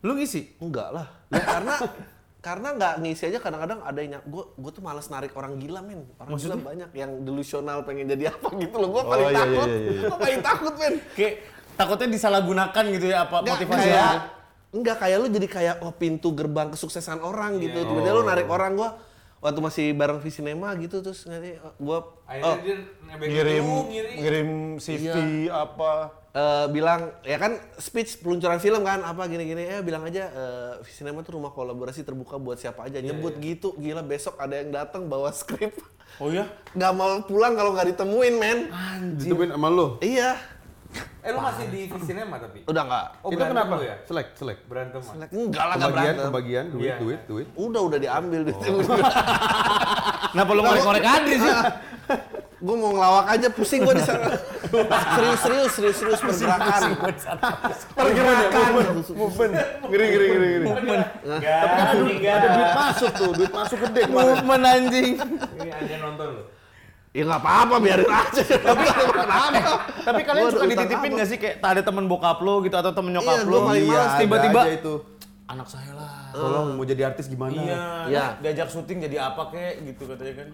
C: lu ngisi?
A: Enggak lah. Ya, (laughs) karena karena nggak ngisi aja kadang-kadang ada yang gue gue tuh malas narik orang gila men orang gila banyak yang delusional pengen jadi apa gitu loh gue
E: Oh,
A: paling
E: iya,
A: takut
E: iya, iya, iya.
A: gue paling takut men
C: Kayak takutnya disalahgunakan gitu ya apa
A: Nggak,
C: motivasi
A: kayak-
C: lu.
A: Nggak, kayak lu jadi kayak oh pintu gerbang kesuksesan orang gitu tiba-tiba lu narik orang gue waktu masih bareng Visinema gitu terus nanti oh, gue
B: Oh,
D: Akhirnya dia nebeng
E: ngirim
D: lu, ngiri.
E: ngirim CV
B: Iya.
E: apa
A: eh bilang ya kan speech peluncuran film kan apa gini-gini ya bilang aja eh Visinema tuh rumah kolaborasi terbuka buat siapa
C: Iya,
A: aja nyebut gitu gila besok ada yang datang bawa skrip
C: Oh iya? Ah.
A: nggak mau pulang kalau nggak ditemuin men
B: Ditemuin sama lu.
A: iya
D: Eh lu masih di Visinema tapi?
A: udah nggak
D: Oh,
B: itu
D: berantem
B: kenapa?
D: lu ya?
B: Selek, selek.
D: Berantem. ah?
A: enggak lah
B: Kebagian,
A: nggak
B: Oh.
A: berantem
B: kebagian, duit,
D: Iya.
B: duit, duit.
A: udah udah diambil (laughs)
C: Kenapa lu ngorek-ngorek Adri sih?
A: gue mau ngelawak aja pusing gue di
C: (laughs)
A: sana serius serius serius serius pergerakan pergerakan
B: Movement, ngeri, ngeri, ngeri, ngeri.
D: Enggak, enggak.
B: Masuk tuh, duit masuk gede kemarin.
C: Movement anjing.
D: Ini ada nonton lu.
A: ya nggak apa-apa biarin aja (laughs) tapi kenapa
C: Tapi kalian
A: Gua ada
C: suka
A: utang
C: dititipin
A: apa?
C: gak sih kayak tak ada temen bokap lo gitu atau temen nyokap
A: Iya,
C: lo
A: gua paling
C: Iya,
A: males,
C: ada
B: tiba-tiba
C: tiba-tiba
B: itu.
C: anak saya lah.
B: Tolong mau jadi artis gimana?
C: Iya,
A: Iya.
C: diajak syuting jadi apa kek gitu katanya kan.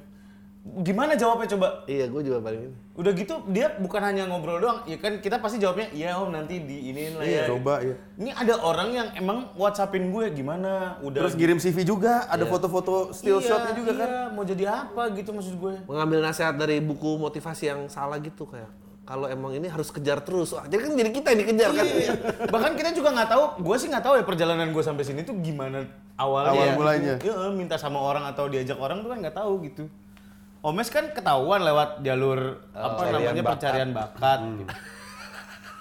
C: Gimana jawabnya coba?
A: iya gue juga paling ini
C: Udah gitu dia bukan hanya ngobrol doang, ya kan kita pasti jawabnya iya om nanti diinin lah ya.
B: Coba
F: iya.
B: ya.
C: Ini ada orang yang emang whatsappin gue gimana? Udah gitu?"
B: Terus ngirim CV juga, ada foto-foto still
C: Iya,
B: shotnya juga kan.
C: iya, mau jadi apa gitu maksud gue.
A: mengambil nasihat dari buku motivasi yang salah gitu kayak kalau emang ini harus kejar terus Wah, jadi kan jadi kita yang dikejar kan
B: Iya.
C: Iya. Bahkan kita juga nggak tahu, gue sih nggak tahu ya perjalanan gue sampai sini tuh gimana awalnya.
B: Awal
C: ya.
B: mulanya.
C: Iya, minta sama orang atau diajak orang tuh kan nggak tahu gitu. Omes kan ketahuan lewat jalur apa
E: Pencarian
C: namanya
E: bakat.
C: pencarian bakat. gitu.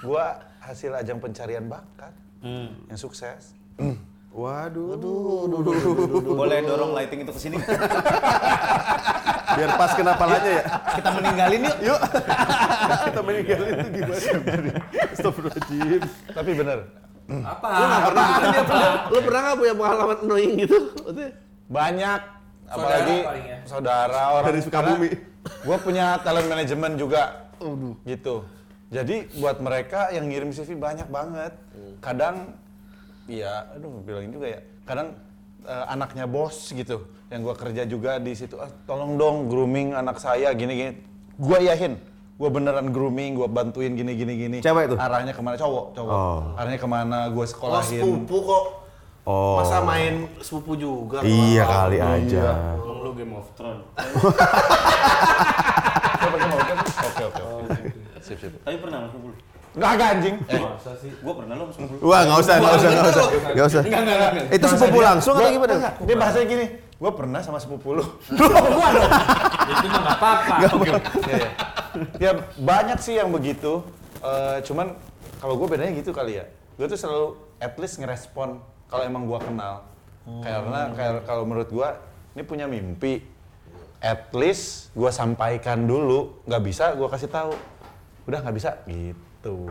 E: gua hasil ajang pencarian bakat yang sukses
B: Waduh.
C: Boleh dorong lighting itu ke sini.
B: Biar pas kena palanya ya.
C: kita meninggalin yuk. Yuk.
B: Kita meninggalin itu gimana? Astagfirullahaladzim.
E: tapi bener
B: Hmm.
D: Apa?
A: lu pernah nggak punya pengalaman annoying gitu Maksudnya,
E: banyak apalagi
D: paling ya.
E: saudara orang
B: Dari Sukabumi.
E: gue punya talent manajemen juga gitu jadi buat mereka yang ngirim CV banyak banget kadang iya aduh bilangin juga ya kadang eh, anaknya bos gitu yang gua kerja juga di situ ah, tolong dong grooming anak saya gini gini gue yakin gue beneran grooming gue bantuin gini gini gini
B: Cewek tuh?
E: arahnya kemana cowok cowok arahnya kemana gue
A: oh
E: sekolahin
A: sepupu kok
B: Oh.
A: masa main sepupu juga
B: Iya kali aja.
C: Lu Game of Thrones.
E: Saya pakai mau kan? (laughs) Oke oke oke. Sip
C: Oh,
E: sip.
C: gitu. Tapi pernah masuk dulu.
E: Enggak enggak anjing. Eh,
D: Masa sih?
C: Gue pernah lo masuk dulu.
B: Wah, nggak usah, nggak usah, nggak usah, nggak usah. Itu sepupu langsung atau
E: gua-
B: gimana?
E: enggak, Dia bahasanya gini. Gue pernah sama sepupu
B: (laughs)
E: lu.
D: Itu mah nggak apa-apa.
E: Iya, iya. Ya banyak sih yang begitu. Eh, cuman kalau gue bedanya gitu kali ya. Gue tuh selalu at least ngerespon kalau emang gue kenal. Karena
B: Hmm.
E: kayak- kalau menurut gue ini punya mimpi. At least gue sampaikan dulu. Nggak bisa gue kasih tahu. Udah nggak bisa gitu.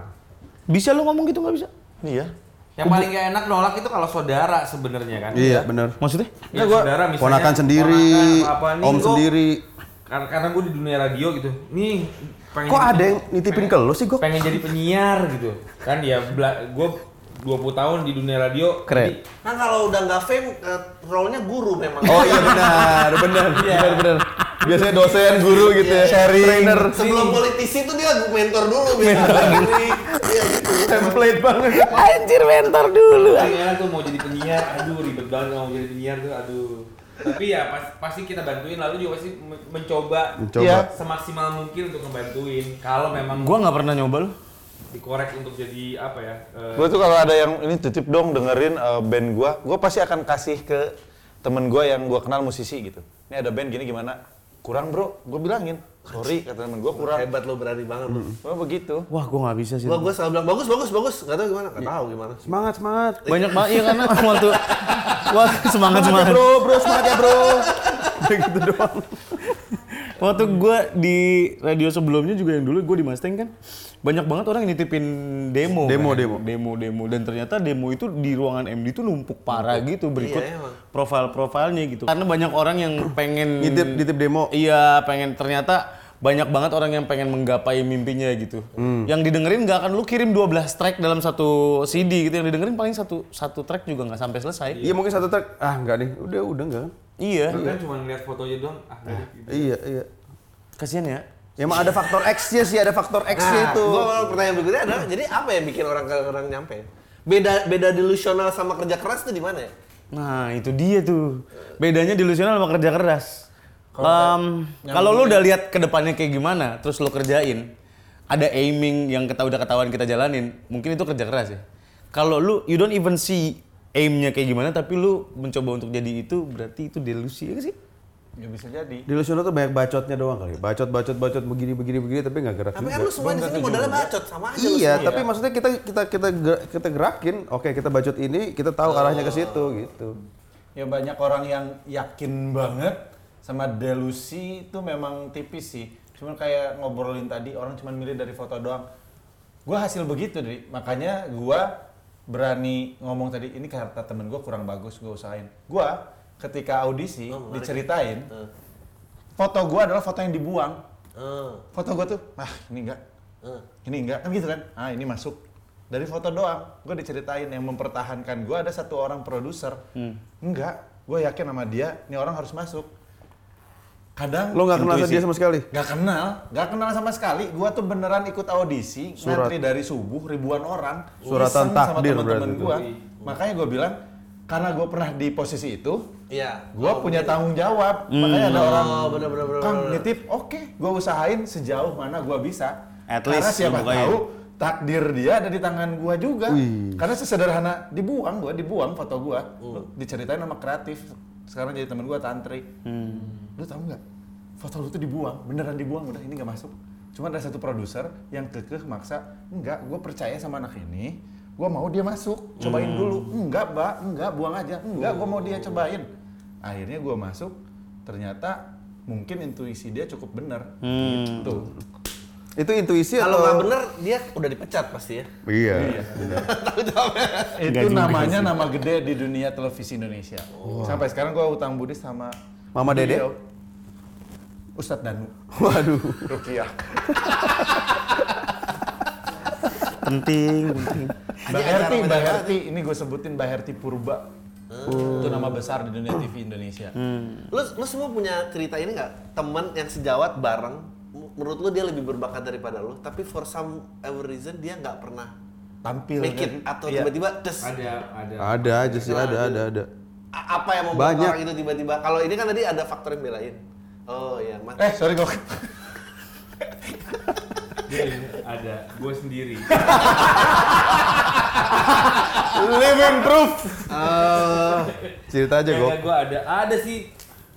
C: Bisa lo ngomong gitu nggak bisa?
E: Iya.
D: Yang paling gak enak nolak itu kalau saudara sebenarnya kan.
B: Iya, benar.
C: Maksudnya?
D: Ya,
B: gua
D: saudara misalnya,
B: ponakan sendiri,
D: ponakan apa-apa, nih,
B: om
D: gua-
B: sendiri.
D: Karena, karena gue di dunia radio gitu. Nih, pengen
B: Kok
D: jadi-
B: ada yang nitipin ke lu sih, Gok?
D: Pengen jadi penyiar gitu. Kan ya gue 20 tahun di dunia radio.
B: Keren.
D: jadi-
A: Kan kalau udah nggak fame, eh, role-nya guru memang.
B: Oh iya benar, (laughs) benar, benar, benar. Biasanya dosen, guru gitu ya. Iya. Sharing. Trainer.
A: (laughs) Sebelum politisi tuh dia mentor
B: (laughs)
A: dulu biasanya. Iya gitu.
B: Template banget.
D: Paling enak tuh mau jadi penyiar, aduh ribet banget mau jadi penyiar tuh, aduh. Tapi ya pas- pasti kita bantuin, lalu juga pasti men- mencoba,
B: Mencoba.
E: Iya.
D: semaksimal mungkin untuk ngebantuin. Kalau memang
C: Gue nggak pernah nyoba lo.
D: dikorek untuk jadi apa ya? eh,
E: Gue tuh kalau ada yang ini titip dong dengerin uh, band gue, gue pasti akan kasih ke temen gue yang gue kenal musisi gitu. Ini ada band gini gimana? Kurang bro, gue bilangin. Sorry kata temen gue kurang.
A: Hebat lo berani banget lo.
E: Gue begitu.
C: Wah gue nggak bisa sih.
A: Gua gua selalu bilang bagus bagus bagus, nggak tahu gimana, nggak tahu gimana.
B: Semangat, semangat.
C: Banyak banget iya karena (laughs) waktu waktu semangat semangat.
B: ya, Bro, bro, semangat ya, bro. (laughs)
C: gitu doang. Waktu gue di radio sebelumnya juga yang dulu gue di Mustang kan banyak banget orang yang nitipin demo.
B: Demo,
C: kan.
B: demo.
C: Demo, demo. Dan ternyata demo itu di ruangan MD tuh numpuk parah gitu berikut
A: Iya, emang.
C: profil-profilnya gitu. Karena banyak orang yang pengen
B: Nitip- nitip demo.
C: Iya, pengen ternyata banyak banget orang yang pengen menggapai mimpinya gitu. Yang didengerin nggak akan lu kirim 12 track dalam satu CD gitu. Yang didengerin paling satu satu track juga nggak sampai selesai.
B: Iya mungkin satu track. Ah enggak deh. Udah udah enggak.
C: Iya.
D: Lu kan cuma ngeliat fotonya doang. Ah, udah, gitu.
B: Iya iya.
C: Kasian ya.
B: Emang ada faktor X-nya sih, ada faktor X-nya
A: Nah,
B: itu. Hmm.
A: gua mau pertanyaan berikutnya adalah jadi apa yang bikin orang orang nyampe? Beda beda delusional sama kerja keras itu di mana ya?
C: Nah itu dia tuh. Bedanya delusional sama kerja keras. Em, Kalau lu udah lihat ke depannya kayak gimana, terus lu kerjain, ada aiming yang kita udah ketahuan kita jalanin, mungkin itu kerja keras ya. Kalau lu you don't even see aimnya kayak gimana, tapi lu mencoba untuk jadi itu, berarti itu delusi ya nggak sih?
E: Ya bisa jadi.
B: Delusional tuh banyak bacotnya doang kali. Bacot, bacot, bacot, begini, begini, begini, tapi nggak gerak
A: Tapi
B: juga.
A: kan lu semua di sini modalnya bacot sama aja lu
B: Iya,
A: semua.
B: tapi maksudnya kita kita kita ger- kita gerakin. Oke, kita bacot ini, kita tahu arahnya ke situ gitu.
E: Ya banyak orang yang yakin banget sama delusi itu memang tipis sih. Cuman kayak ngobrolin tadi orang cuman milih dari foto doang. Gua hasil begitu, Dri. Makanya gua berani ngomong tadi ini kata temen gua kurang bagus, gua usahain. Gua ketika audisi diceritain foto gua adalah foto yang dibuang.
A: Eh,
E: Foto gua tuh, ah ini enggak.
A: eh.
E: Ini enggak kan gitu kan? Ah ini masuk. Dari foto doang, gue diceritain yang mempertahankan gue ada satu orang produser.
B: Hmm.
E: Enggak, gue yakin sama dia, ini orang harus masuk. Kadang
B: Lo nggak kenal
E: intuisi.
B: dia sama sekali?
E: Nggak kenal, nggak kenal sama sekali. Gue tuh beneran ikut audisi,
B: Surat.
E: ngantri dari subuh ribuan orang.
B: Suratan
E: iseng sama
B: takdir
E: temen-temen
B: berarti itu.
E: gua. Makanya gue bilang, karena gue pernah di posisi itu,
A: Iya.
E: gue punya tanggung jawab makanya ada orang
A: Hmm. Oh, bener, bener, bener,
E: kang
A: bener, bener."
E: nitip oke gue usahain sejauh mana gue bisa
C: At
E: karena
C: least lu
E: siapa
C: bukain.
E: tahu takdir dia ada di tangan gue juga karena sesederhana dibuang gue dibuang foto gue lu diceritain sama kreatif sekarang jadi temen gue tantri lu tahu nggak foto lu tuh dibuang beneran dibuang udah ini nggak masuk cuma ada satu produser yang kekeh maksa enggak gue percaya sama anak ini gue mau dia masuk cobain dulu enggak mbak enggak buang aja enggak gue mau dia cobain akhirnya gue masuk ternyata mungkin intuisi dia cukup bener gitu
B: Itu intuisi
A: Kalau
B: atau-
A: nggak bener dia udah dipecat pasti ya.
B: Iya.
E: itu namanya nama gede di dunia televisi Indonesia sampai sekarang gue utang budi sama
B: Mama Dede?
E: beliau. Ustadz Danu
B: Waduh.
E: Rukiah
C: Penting,
B: (laughs)
C: penting.
E: Mbak Herti, Mbak Herti, ini gue sebutin Mbak Herti Purba.
B: Hmm.
E: Itu nama besar di dunia TV Indonesia.
A: Lu lu semua punya cerita ini nggak? Temen yang sejawat bareng m- menurut lu dia lebih berbakat daripada lu, tapi for some ever reason dia nggak pernah
E: Tampil
A: make it
E: kan?
A: atau
E: Iya.
A: tiba-tiba des.
D: Ada ada.
F: Ah.
B: Ada aja sih, ada, ada, ada.
A: A- apa yang membuat
B: Banyak.
A: orang itu tiba-tiba kalau ini kan tadi ada faktor yang belain oh iya mas
E: Eh, sorry kok.
D: Gini, ada. Gue sendiri.
E: Living proof.
B: Cerita aja, Gok.
D: Kayak gue ada, ada sih.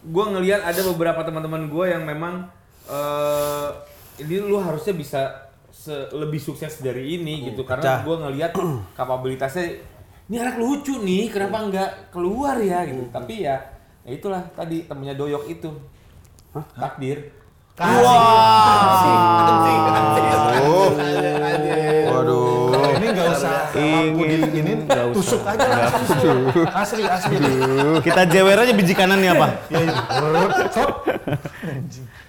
D: Gue ngelihat ada beberapa teman-teman gue yang memang eh ini lu harusnya bisa se- lebih sukses dari ini gitu karena gue ngelihat kapabilitasnya ini anak lucu nih kenapa nggak keluar ya gitu tapi ya, ya itulah tadi temennya doyok itu takdir
B: Waduh.
E: Ini nggak usah lampu di ini tusuk aja langsung. Sur. Asli, asli.
C: Kita jewer aja biji kanannya apa?
B: Gitu.
E: Ya, ya. Sop.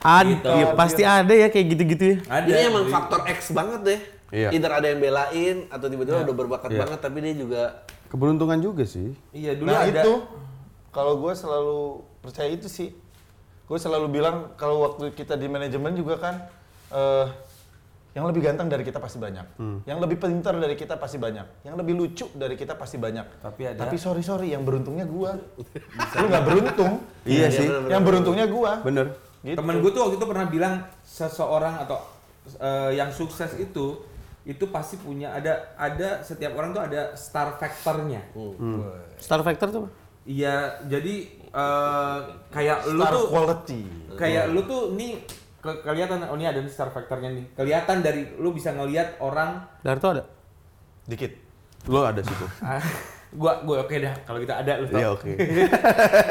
C: Ad, ya, pasti ada ya kayak gitu-gitu ya.
D: ada
A: ini emang
D: Jadi-
A: faktor X banget deh
B: Iya.
A: either ada yang belain atau tiba-tiba udah berbakat banget tapi dia juga
B: Keberuntungan juga sih.
D: iya dulu
E: Nah
D: ada
E: itu, kalau gue selalu percaya itu sih. Gue selalu bilang kalau waktu kita di manajemen juga kan, eh, yang lebih ganteng dari kita pasti banyak, yang lebih pintar dari kita pasti banyak, yang lebih lucu dari kita pasti banyak.
D: Tapi ada-
E: Tapi sorry sorry, yang beruntungnya gue. Lu nggak beruntung.
B: Iya sih.
E: yang beruntungnya gue.
B: Bener.
E: Gitu.
D: Temen gue tuh waktu itu pernah bilang seseorang atau eh, yang sukses itu itu pasti punya ada ada setiap orang tuh ada star factornya.
C: Star Factor tuh apa?
D: Iya, jadi eh, kayak lu
E: Star
D: tuh
E: quality.
D: kayak lu tuh nih ke- kelihatan oh ini ada nih star factornya nih. Kelihatan dari lu bisa ngelihat orang (laughs)
C: Darto ada?
E: Dikit.
B: Lo ada sih, Gok.
D: ah, gua gua oke dah kalau kita ada lu tau.
B: Iya, oke.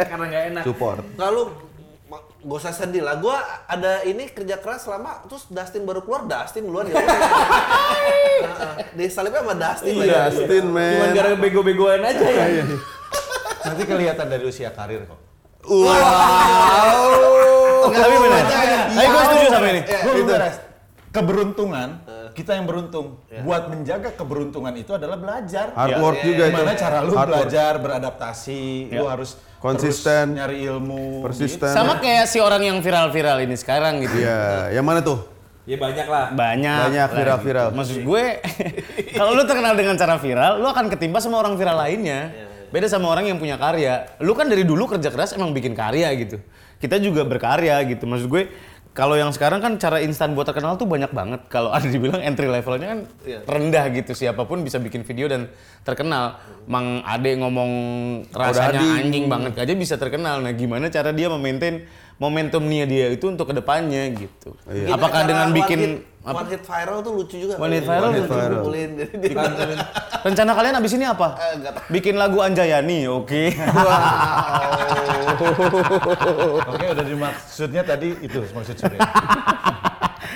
D: Karena nggak enak.
B: Support.
A: lalu ma- gak usah sedih lah gua ada ini kerja keras lama terus Dustin baru keluar Dustin duluan ya di salibnya sama Dustin lagi.
F: Iya.
B: Dustin,
D: Cuman
B: Iya, man.
D: gara-gara bego-begoan aja ya.
E: Nanti kelihatan dari usia karir kok.
B: Wow.
A: Tapi bener.
C: Tapi gua setuju sama ini.
E: Gua beres. Eh, Keberuntungan, kita yang beruntung. Buat menjaga keberuntungan itu adalah belajar.
F: Hard
C: Iya.
F: work
A: Iya,
F: juga itu.
E: Gimana cara lu
F: Hard work.
E: belajar, beradaptasi, lu harus
F: Konsisten.
E: terus nyari ilmu. gitu.
F: Persisten.
C: Sama kayak si orang yang viral-viral ini sekarang gitu.
F: Iya, yang mana tuh?
D: Ya banyak lah.
C: Banyak.
F: Banyak
C: lagi.
F: viral-viral.
C: Maksud gue, (laughs) kalau lu terkenal dengan cara viral, lu akan ketimpa sama orang viral lainnya. Beda sama orang yang punya karya. Lu kan dari dulu kerja keras emang bikin karya gitu. Kita juga berkarya gitu. Maksud gue, kalau yang sekarang kan cara instan buat terkenal tuh banyak banget. Kalau (laughs) ada dibilang entry levelnya kan rendah gitu. Siapapun bisa bikin video dan terkenal. Mang Ade ngomong rasanya anjing banget aja bisa terkenal. Nah gimana cara dia memaintain momentumnya dia itu untuk kedepannya gitu.
A: Iya,
C: Apakah dengan bikin apa?
A: one hit viral tuh lucu juga. Iya.
C: One hit viral
A: One hit
C: lucu.
A: viral. Ngumpulin. Jadi dia-
C: Rencana kalian abis ini apa?
A: Eh, nggak tahu.
C: Bikin lagu Anjayani, (laughs) oke.
E: Oke, udah dimaksudnya tadi itu maksud saya.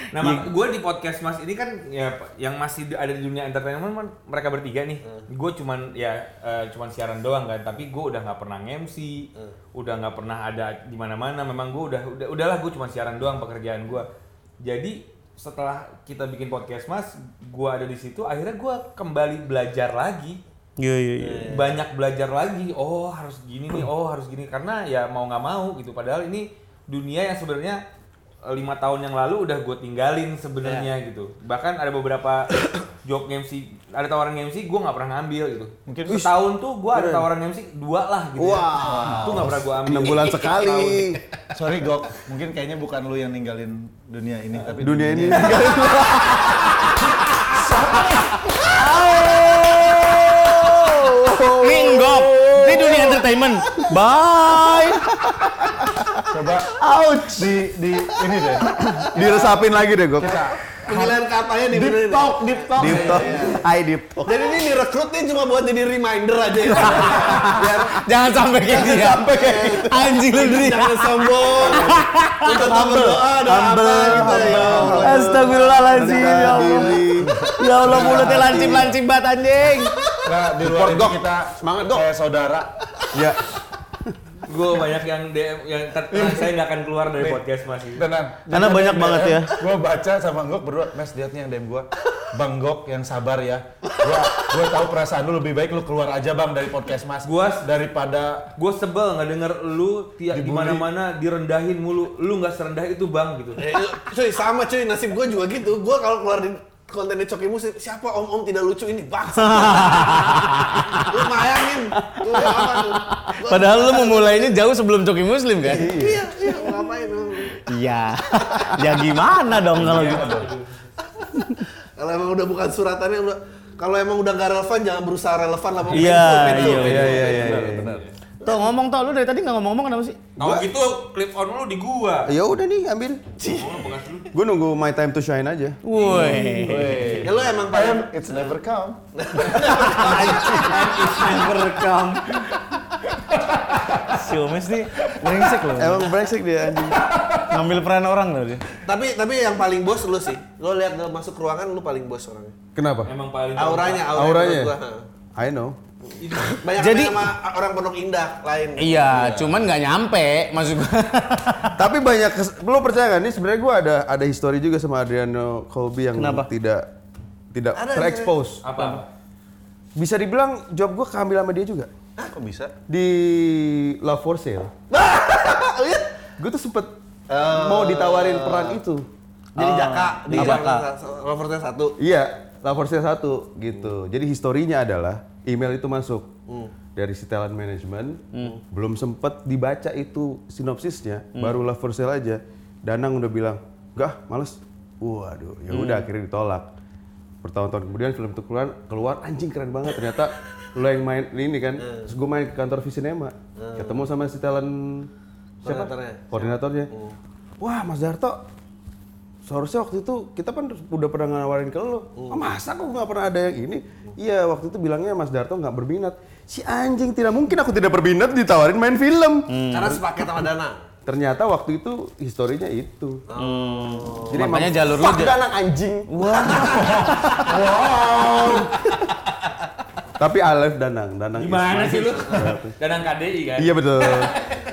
D: Nah, mak- gue di podcast Mas ini kan ya yang masih ada di dunia entertainment kan mereka bertiga nih. Gue cuman ya eh, cuman siaran doang kan, tapi gue udah nggak pernah MC, udah nggak pernah ada di mana-mana. Memang gue udah udah udahlah gue cuman siaran doang pekerjaan gue. Jadi setelah kita bikin podcast Mas, gue ada di situ. Akhirnya gue kembali belajar lagi
C: Iya, iya, iya.
D: banyak belajar lagi oh harus gini nih oh harus gini karena ya mau nggak mau gitu padahal ini dunia yang sebenarnya eh, lima tahun yang lalu udah gue tinggalin sebenarnya gitu bahkan ada beberapa job MC ada tawaran MC gue nggak pernah ngambil gitu
E: Mungkin, "Wih,
D: setahun tuh gue ada tawaran MC dua lah gitu ya. itu nggak pernah gue ambil
F: Enam
D: (laughs)
F: bulan sekali.
E: Sorry Gok, mungkin kayaknya bukan lu yang ninggalin dunia ini tapi
F: Dunia ini.
C: Ninggok di dunia entertainment. Bye.
E: coba ouch di di ini deh.
F: Diresapin lagi deh, Gok.
A: Pemilihan katanya di
E: Deep talk, deep talk.
A: Iya,
F: Deep talk. Ai deep talk.
A: Jadi ini direkrutnya cuma buat jadi reminder aja ya. Biar
C: Jangan sampai kayak gitu. Sampai kayak Anjing lu diri.
A: jangan sombong. Untuk tamu doa doa apa gitu
F: Humble,
A: ya.
F: humble.
A: iya.
C: Astagfirullahaladzim. Ya
F: Rendah
C: Allah.
F: diri.
C: Ya Allah mulutnya lancip-lancip banget anjing.
E: Nah, di luar ini
F: Gok.
E: kita
F: Semangat, Gok.
E: kayak saudara.
F: Ya,
D: gue banyak yang DM yang ter- nah, saya nggak akan keluar dari podcast mas gitu. ini
E: Tenang.
C: Karena banyak banget ya.
E: Gua baca sama Gok berdua, Mas lihat nih yang DM gua. Bang Gok yang sabar ya. Gua gua tahu perasaan lu lebih baik lu keluar aja Bang dari podcast Mas.
D: Gua-
E: daripada
D: gue sebel nggak denger lu tiap di mana mana direndahin mulu lu nggak serendah itu bang gitu
A: Eh, Cuy sama cuy nasib gue juga gitu. Gue kalau keluar di kontennya Coki Musik, siapa om-om tidak lucu ini?
C: (laughs)
A: Bangsa. lu bayangin. Lu apa tuh? Gua-
C: Padahal lu memulainya jauh sebelum Coki Muslim kan?
A: Iya, iya, mau ngapain lu?
C: Iya. Ya gimana dong kalau gitu?
A: Kalau emang udah bukan suratannya udah kalau emang udah gak relevan jangan berusaha relevan lah pokoknya
C: Iya,
A: itu, itu,
C: iya,
A: itu.
F: ya, ya, ya.
C: Tuh ngomong tau lu dari tadi nggak ngomong-ngomong kenapa sih?
D: Kalau gitu clip on lu di gua.
F: Ya udah nih ambil. Gue nunggu my time to shine
C: Iya,
F: aja.
C: Woi.
A: Ya lu emang
E: I
A: pengen
E: am- it's never come.
C: Berkam. Si Omes nih brengsek loh.
F: Emang brengsek dia anjing.
C: Ngambil peran orang loh dia.
A: tapi tapi yang paling bos lu sih. Lu lihat lu masuk ke ruangan lu paling bos orangnya.
F: Kenapa?
D: Emang paling
A: Auranya, auranya.
F: Auranya?
A: menurut Gua, ha.
F: I know.
A: Banyak
C: Jadi-
A: sama orang Pondok Indah lain.
C: Iya, cuman nggak nyampe maksud gua.
F: Tapi banyak kes- lo percaya gak nih sebenarnya gue ada ada histori juga sama Adriano Colby yang
C: Kenapa?
F: tidak tidak
A: Ada,
F: terekspos.
D: apa?
F: Bisa dibilang job gue keambil sama dia juga
A: Ah,
E: Kok bisa?
F: di Love for Sale.
A: (laughs)
F: gue tuh sempet mau ditawarin peran itu. Ah,
A: Jadi Jaka di
F: Apa?
A: Rovernya satu.
F: Iya, Love for Sale satu gitu. Jadi historinya adalah email itu masuk dari si talent management, belum sempet dibaca itu sinopsisnya, baru Love for Sale aja. Danang udah bilang, "Gah, males." Waduh, ya udah akhirnya ditolak. Bertahun-tahun kemudian film itu keluar, keluar anjing keren banget ternyata lo yang main ini kan. Terus gue main ke kantor Visinema, ketemu sama si talent siapa?
A: Koordinatornya. Hmm.
F: Koordinatornya. Wah, Mas Darto seharusnya waktu itu kita kan udah pernah ngawarin ke lo "Ah,
A: Hmm.
F: masa kok nggak pernah ada yang ini iya waktu itu bilangnya Mas Darto nggak berminat si anjing tidak mungkin aku tidak berminat ditawarin main film
A: Karena sepaket sama Danang.
F: ternyata waktu itu historinya itu
A: Oh.
F: jadi
C: Makanya
F: emang,
C: jalur lu
F: "Fuck
C: ja-
F: dah, anak anjing
C: (laughs)
F: tapi Alef Danang Danang
D: Gimana
F: Ismail.
D: sih lu? Danang KDI kan?
A: (laughs)
F: iya betul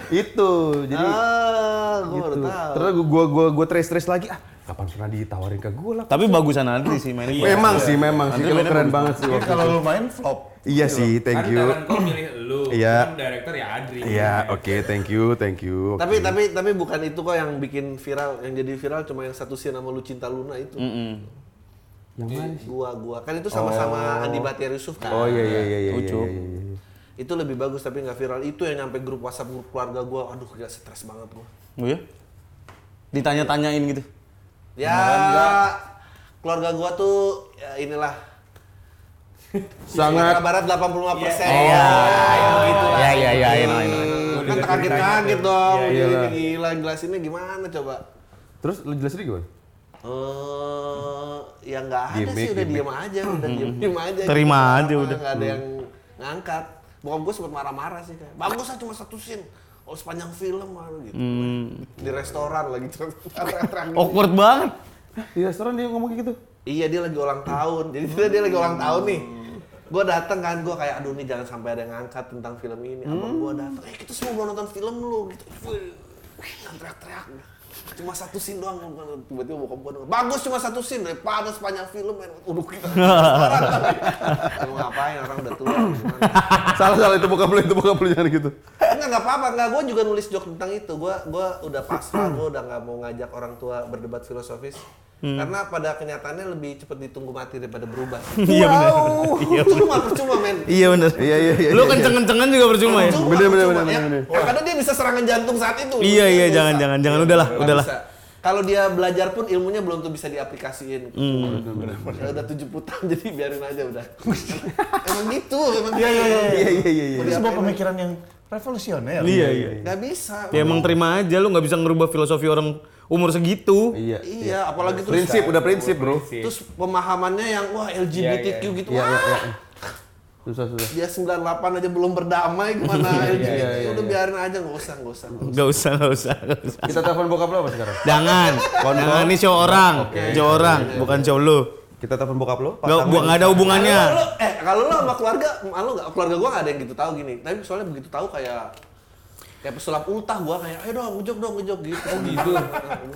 F: itu jadi
A: ah, gua baru
F: gitu.
A: tahu.
F: Terus gua gua gua trace trace lagi ah kapan pernah ditawarin ke gua lah.
C: Tapi bagusan Andri sih mainnya.
F: Iya. Memang sih, memang sih.
C: Andre Iya,
F: Lu
C: mainnya
F: keren
C: bagus.
F: banget sih.
E: Mungkin
F: waktu
E: kalau
F: itu.
E: lu main flop.
F: Iya sih, thank you.
D: Kan Tarantino milih lu,
F: Iya.
D: kan director ya Adri.
F: Iya, oke, thank you, thank you.
A: Tapi tapi tapi bukan itu kok yang bikin viral, yang jadi viral cuma yang satu scene sama lu cinta Luna itu.
F: Yang mana?
A: Gua gua kan itu sama-sama Andi Bahtiar Yusuf kan.
F: Oh iya iya iya iya.
C: Ucup.
F: iya, iya, iya.
A: Itu lebih bagus tapi nggak viral. Itu yang nyampe grup WhatsApp grup keluarga gua. Aduh, gila stres banget gua.
C: Oh ya? Ditanya-tanyain gitu.
A: Ya, keluarga gua tuh ya
C: (laughs)
A: inilah Sumatera
F: Sangat
A: Barat 85 persen.
C: Oh,
A: Ya.
C: Iya, iya, iya, iya, iya.
A: Kan kaget-kaget dong. Gila, gila, jelasinnya gimana coba?
F: Terus lu jelasin gimana?
A: Eh, ya nggak ada
F: Gimik,
A: sih udah
F: gimik.
A: diem aja, udah diem diem aja.
C: Hmm. Terima
A: Gitu, lama,
C: aja udah. Hmm.
A: Nggak ada yang ngangkat. Bokap gue sempet marah-marah sih kayak, bagus lah cuma satu scene. Oh sepanjang film malu gitu.
C: Hmm.
A: Di restoran lagi (laughs) terang-terang.
C: Awkward banget.
F: Di restoran dia ngomong kayak gitu.
A: Iya dia lagi ulang tahun. Jadi dia, dia lagi ulang tahun nih. Gue dateng kan, gue kayak aduh nih jangan sampai ada yang ngangkat tentang film ini. Abang gue dateng, eh kita semua belum nonton film lu gitu. Wih, yang teriak-teriak. Cuma satu scene doang, tiba-tiba bokap gue denger, bagus cuma satu scene daripada sepanjang film men. Udah kita Mau ngapain orang udah tua gimana.
F: salah salah itu bukan lu itu bukan lu jangan gitu.
A: Enggak, enggak apa-apa. Enggak, gue juga nulis joke tentang itu. Gue gua udah pasrah, gue udah nggak mau ngajak orang tua berdebat filosofis. Karena pada kenyataannya lebih cepet ditunggu mati daripada berubah.
C: Iya, bener.
A: wow. Itu mah percuma, men.
C: Iya bener.
F: Iya iya iya.
C: Lu
F: iya, iya.
C: kenceng-kencengan juga percuma ya?
A: Percuma,
F: Bener, bener,
A: percuma,
F: bener,
A: ya.
F: bener,
A: Karena dia bisa serangan jantung saat itu.
C: Iya,
A: Dia
C: iya,
A: bisa.
C: jangan, jangan, jangan.
A: Iya,
C: Udahlah,
A: nggak
C: udahlah.
A: bisa. Kalau dia belajar pun ilmunya belum tuh bisa diaplikasiin. Ya udah tujuh putan (laughs) jadi biarin aja udah. emang gitu, emang gitu.
F: Iya iya iya iya.
A: Mau
E: Itu sebuah
A: diapain lagi?
E: pemikiran yang revolusioner.
C: Iya, iya.
A: Nggak bisa.
C: Ya emang terima aja, lu nggak bisa ngerubah filosofi orang umur segitu.
F: Iya.
A: Iya, apalagi terus
F: Prinsip udah prinsip, Bro.
A: Terus pemahamannya yang wah LGBTQ gitu
F: Iya iya
A: wah.
F: iya. Susah susah.
A: Dia 98 aja belum berdamai gimana LGBTQ
F: iya, iya,
A: udah
F: iya.
A: biarin aja nggak usah nggak usah. nggak usah.
C: Gak usah, gak usah, nggak usah.
F: Kita telepon bokap lo apa sekarang?
C: Jangan, jangan ini show orang, show orang, bukan show lu.
F: Kita telepon bokap lo?
C: Gak, gua nggak ada hubungannya.
A: Kalau lu- eh kalau lo sama keluarga, malu nggak keluarga gua nggak ada yang gitu tahu gini. Tapi soalnya begitu tahu kayak kayak pesulap ultah gua kayak ayo dong ngejok dong ngejok gitu. Oh (laughs) gitu.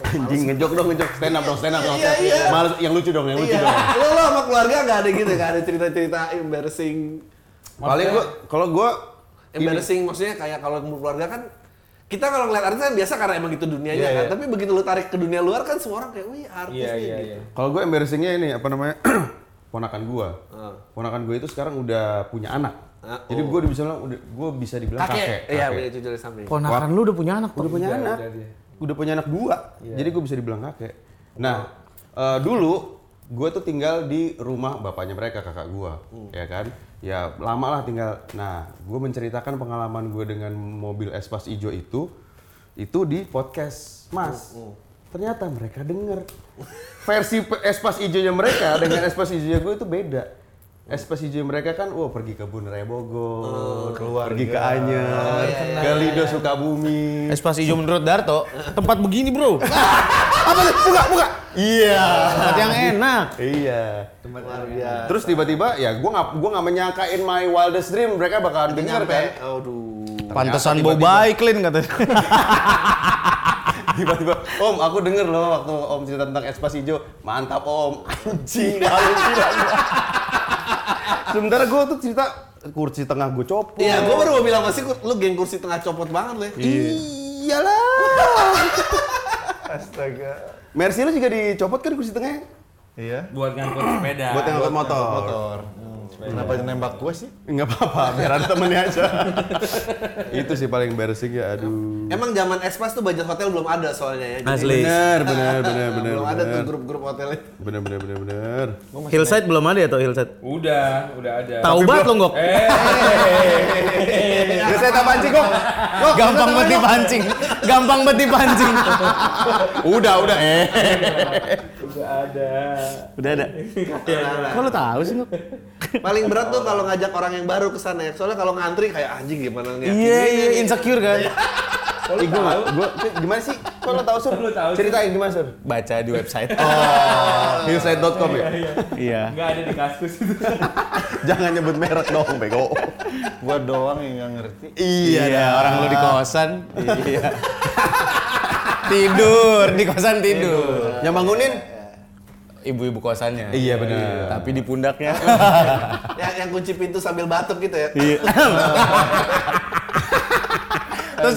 F: Anjing ngejok dong ngejok stand up dong stand up dong.
A: Iya, iya, iya.
F: Malu yang lucu dong yang lucu
A: iya.
F: dong.
A: Lo lo sama keluarga nggak ada gitu, nggak ada cerita-cerita embarrassing.
F: Paling gua kalau gua
A: Embarrassing maksudnya kayak kalau keluarga kan kita kalau ngeliat artis kan biasa karena emang gitu dunianya
F: Iya,
A: kan.
F: iya.
A: Tapi begitu lu tarik ke dunia luar kan semua orang kayak wih artis
D: Iya,
A: nih
D: iya,
A: gitu.
D: iya.
F: kalau gua embarrassingnya ini apa namanya? (clears throat) ponakan gua. Ponakan gua itu sekarang udah punya anak.
A: Ah,
F: Jadi gua bisa bilang udah gua bisa dibilang kakek.
A: Iya,
F: Kakek.
A: punya cucu dari samping.
C: Ponakan lu udah punya anak,
F: udah Iya. punya anak udah punya anak dua jadi gue bisa dibilang kakek nah eh, dulu gue tuh tinggal di rumah bapaknya mereka kakak gue ya kan ya lama lah tinggal nah gue menceritakan pengalaman gue dengan mobil espas ijo itu itu di podcast mas ternyata mereka denger versi pe- espas ijonya mereka dengan espas ijonya gue itu beda Espas hijau mereka kan, wah pergi ke Bundaran Bogor, pergi ke Anyer, ke Lido Sukabumi,
C: Espas hijau menurut Darto, tempat begini bro.
F: apa nih? Buka, buka. Iya.
C: Tempat yang enak.
F: Iya. Terus tiba-tiba ya gua nggak gua nggak menyangkain my wildest dream mereka bakalan dengar
A: Nyampe,
F: kan.
A: aduh.
C: Pantesan bau
F: tiba-tiba-
C: baik, Lin katanya.
F: Tiba-tiba, Om, aku denger loh waktu Om cerita tentang espas hijau. Mantap, Om. (laughs) Anjing, malu bilang. Sementara gua tuh cerita kursi tengah gua copot.
A: Iya, gua baru mau bilang pasti lu geng kursi tengah copot banget le.
F: Iya. Iyalah.
E: Astaga.
F: Mercy lu juga dicopot kan kursi tengahnya?
E: Iya.
D: Buat ngangkut sepeda.
F: Buat yang angkut motor.
E: Motor. Kenapa nembak gua sih?
F: Enggak apa-apa, biar ada temennya (laughs) aja. Itu sih paling embarrassing ya, aduh.
A: Emang zaman Espas tuh budget hotel belum ada soalnya ya. Jadi
C: Asli.
F: Bener, bener, bener, bener.
A: belum ada tuh
F: bener.
A: grup-grup hotelnya.
F: Bener, bener, bener, bener.
C: Hillside belum ada ya atau Hillside?
D: Udah, udah ada.
C: Tahu banget lo ngok.
F: Ya saya tak pancing kok. Kok?
C: Gampang banget dipancing. Gampang banget dipancing.
F: Udah, udah. Eh.
D: Udah ada.
C: Udah ada. Kok lu tahu sih ngok?
A: Nah, Paling berat tuh kalau ngajak orang yang baru ke sana ya. Soalnya kalau ngantri kayak anjing gimana nih.
C: Iya, iya, insecure kan.
F: Ih, gua, nggak- gua, gimana sih? Kok lo tau, Sur?
D: Lu tahu, Sur.
F: Ceritain gimana, Sur?
C: Baca di website.
F: Oh, hillside.com ya?
C: Iya.
D: Enggak ada di kaskus itu.
F: Jangan nyebut merek dong, bego.
E: Gua doang yang nggak ngerti.
C: Iya, dah, orang lu di kosan. Iya. (laughs) tidur di kosan tidur.
F: Yang bangunin?
C: Ibu-ibu kosannya.
F: Iya, benar.
C: Tapi di pundaknya.
A: Ya, yang, yang kunci pintu sambil batuk gitu ya.
G: Iya.
C: (laughs) terus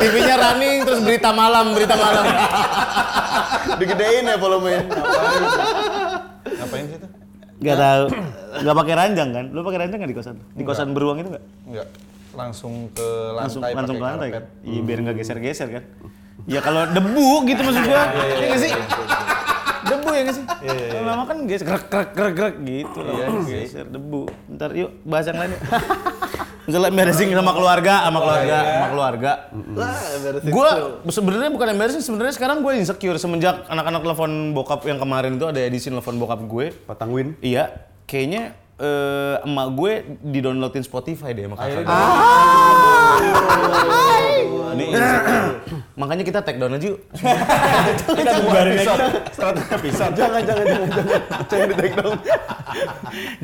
C: TV-nya running terus berita malam, berita malam.
F: Digedein ya volumenya.
E: Ngapain sih itu?
G: Gak tahu. Gak pakai ranjang kan? Lu pakai ranjang nggak di kosan? Di kosan beruang itu nggak?
E: Enggak. Langsung ke
G: Langsung
E: lantai.
G: langsung ke
E: pakai
G: lantai kan?
E: karpet.
G: Iya biar nggak geser-geser kan? Ya kalau debu gitu maksud gua. Iya nggak sih? Debu ya nggak sih? Lama kan geser krek krek krek krek gitu loh. Geser debu. Ntar yuk bahas yang lain. yuk. Misalnya embarrassing sama keluarga, sama keluarga, sama keluarga.
A: Lah, embarrassing
C: Gue
A: tuh.
C: sebenarnya bukan embarrassing, sebenarnya sekarang gue insecure semenjak anak-anak telepon bokap yang kemarin itu ada edisi telepon bokap gue.
F: Patang win.
C: Iya, kayaknya eh, emak gue di-downloadin Spotify deh Ah! sama kakak. Ini insecure. Makanya kita take down aja yuk. (laughs)
G: Kita bubarin aja.
F: Jangan, jangan, jangan, jangan. Jangan di take down.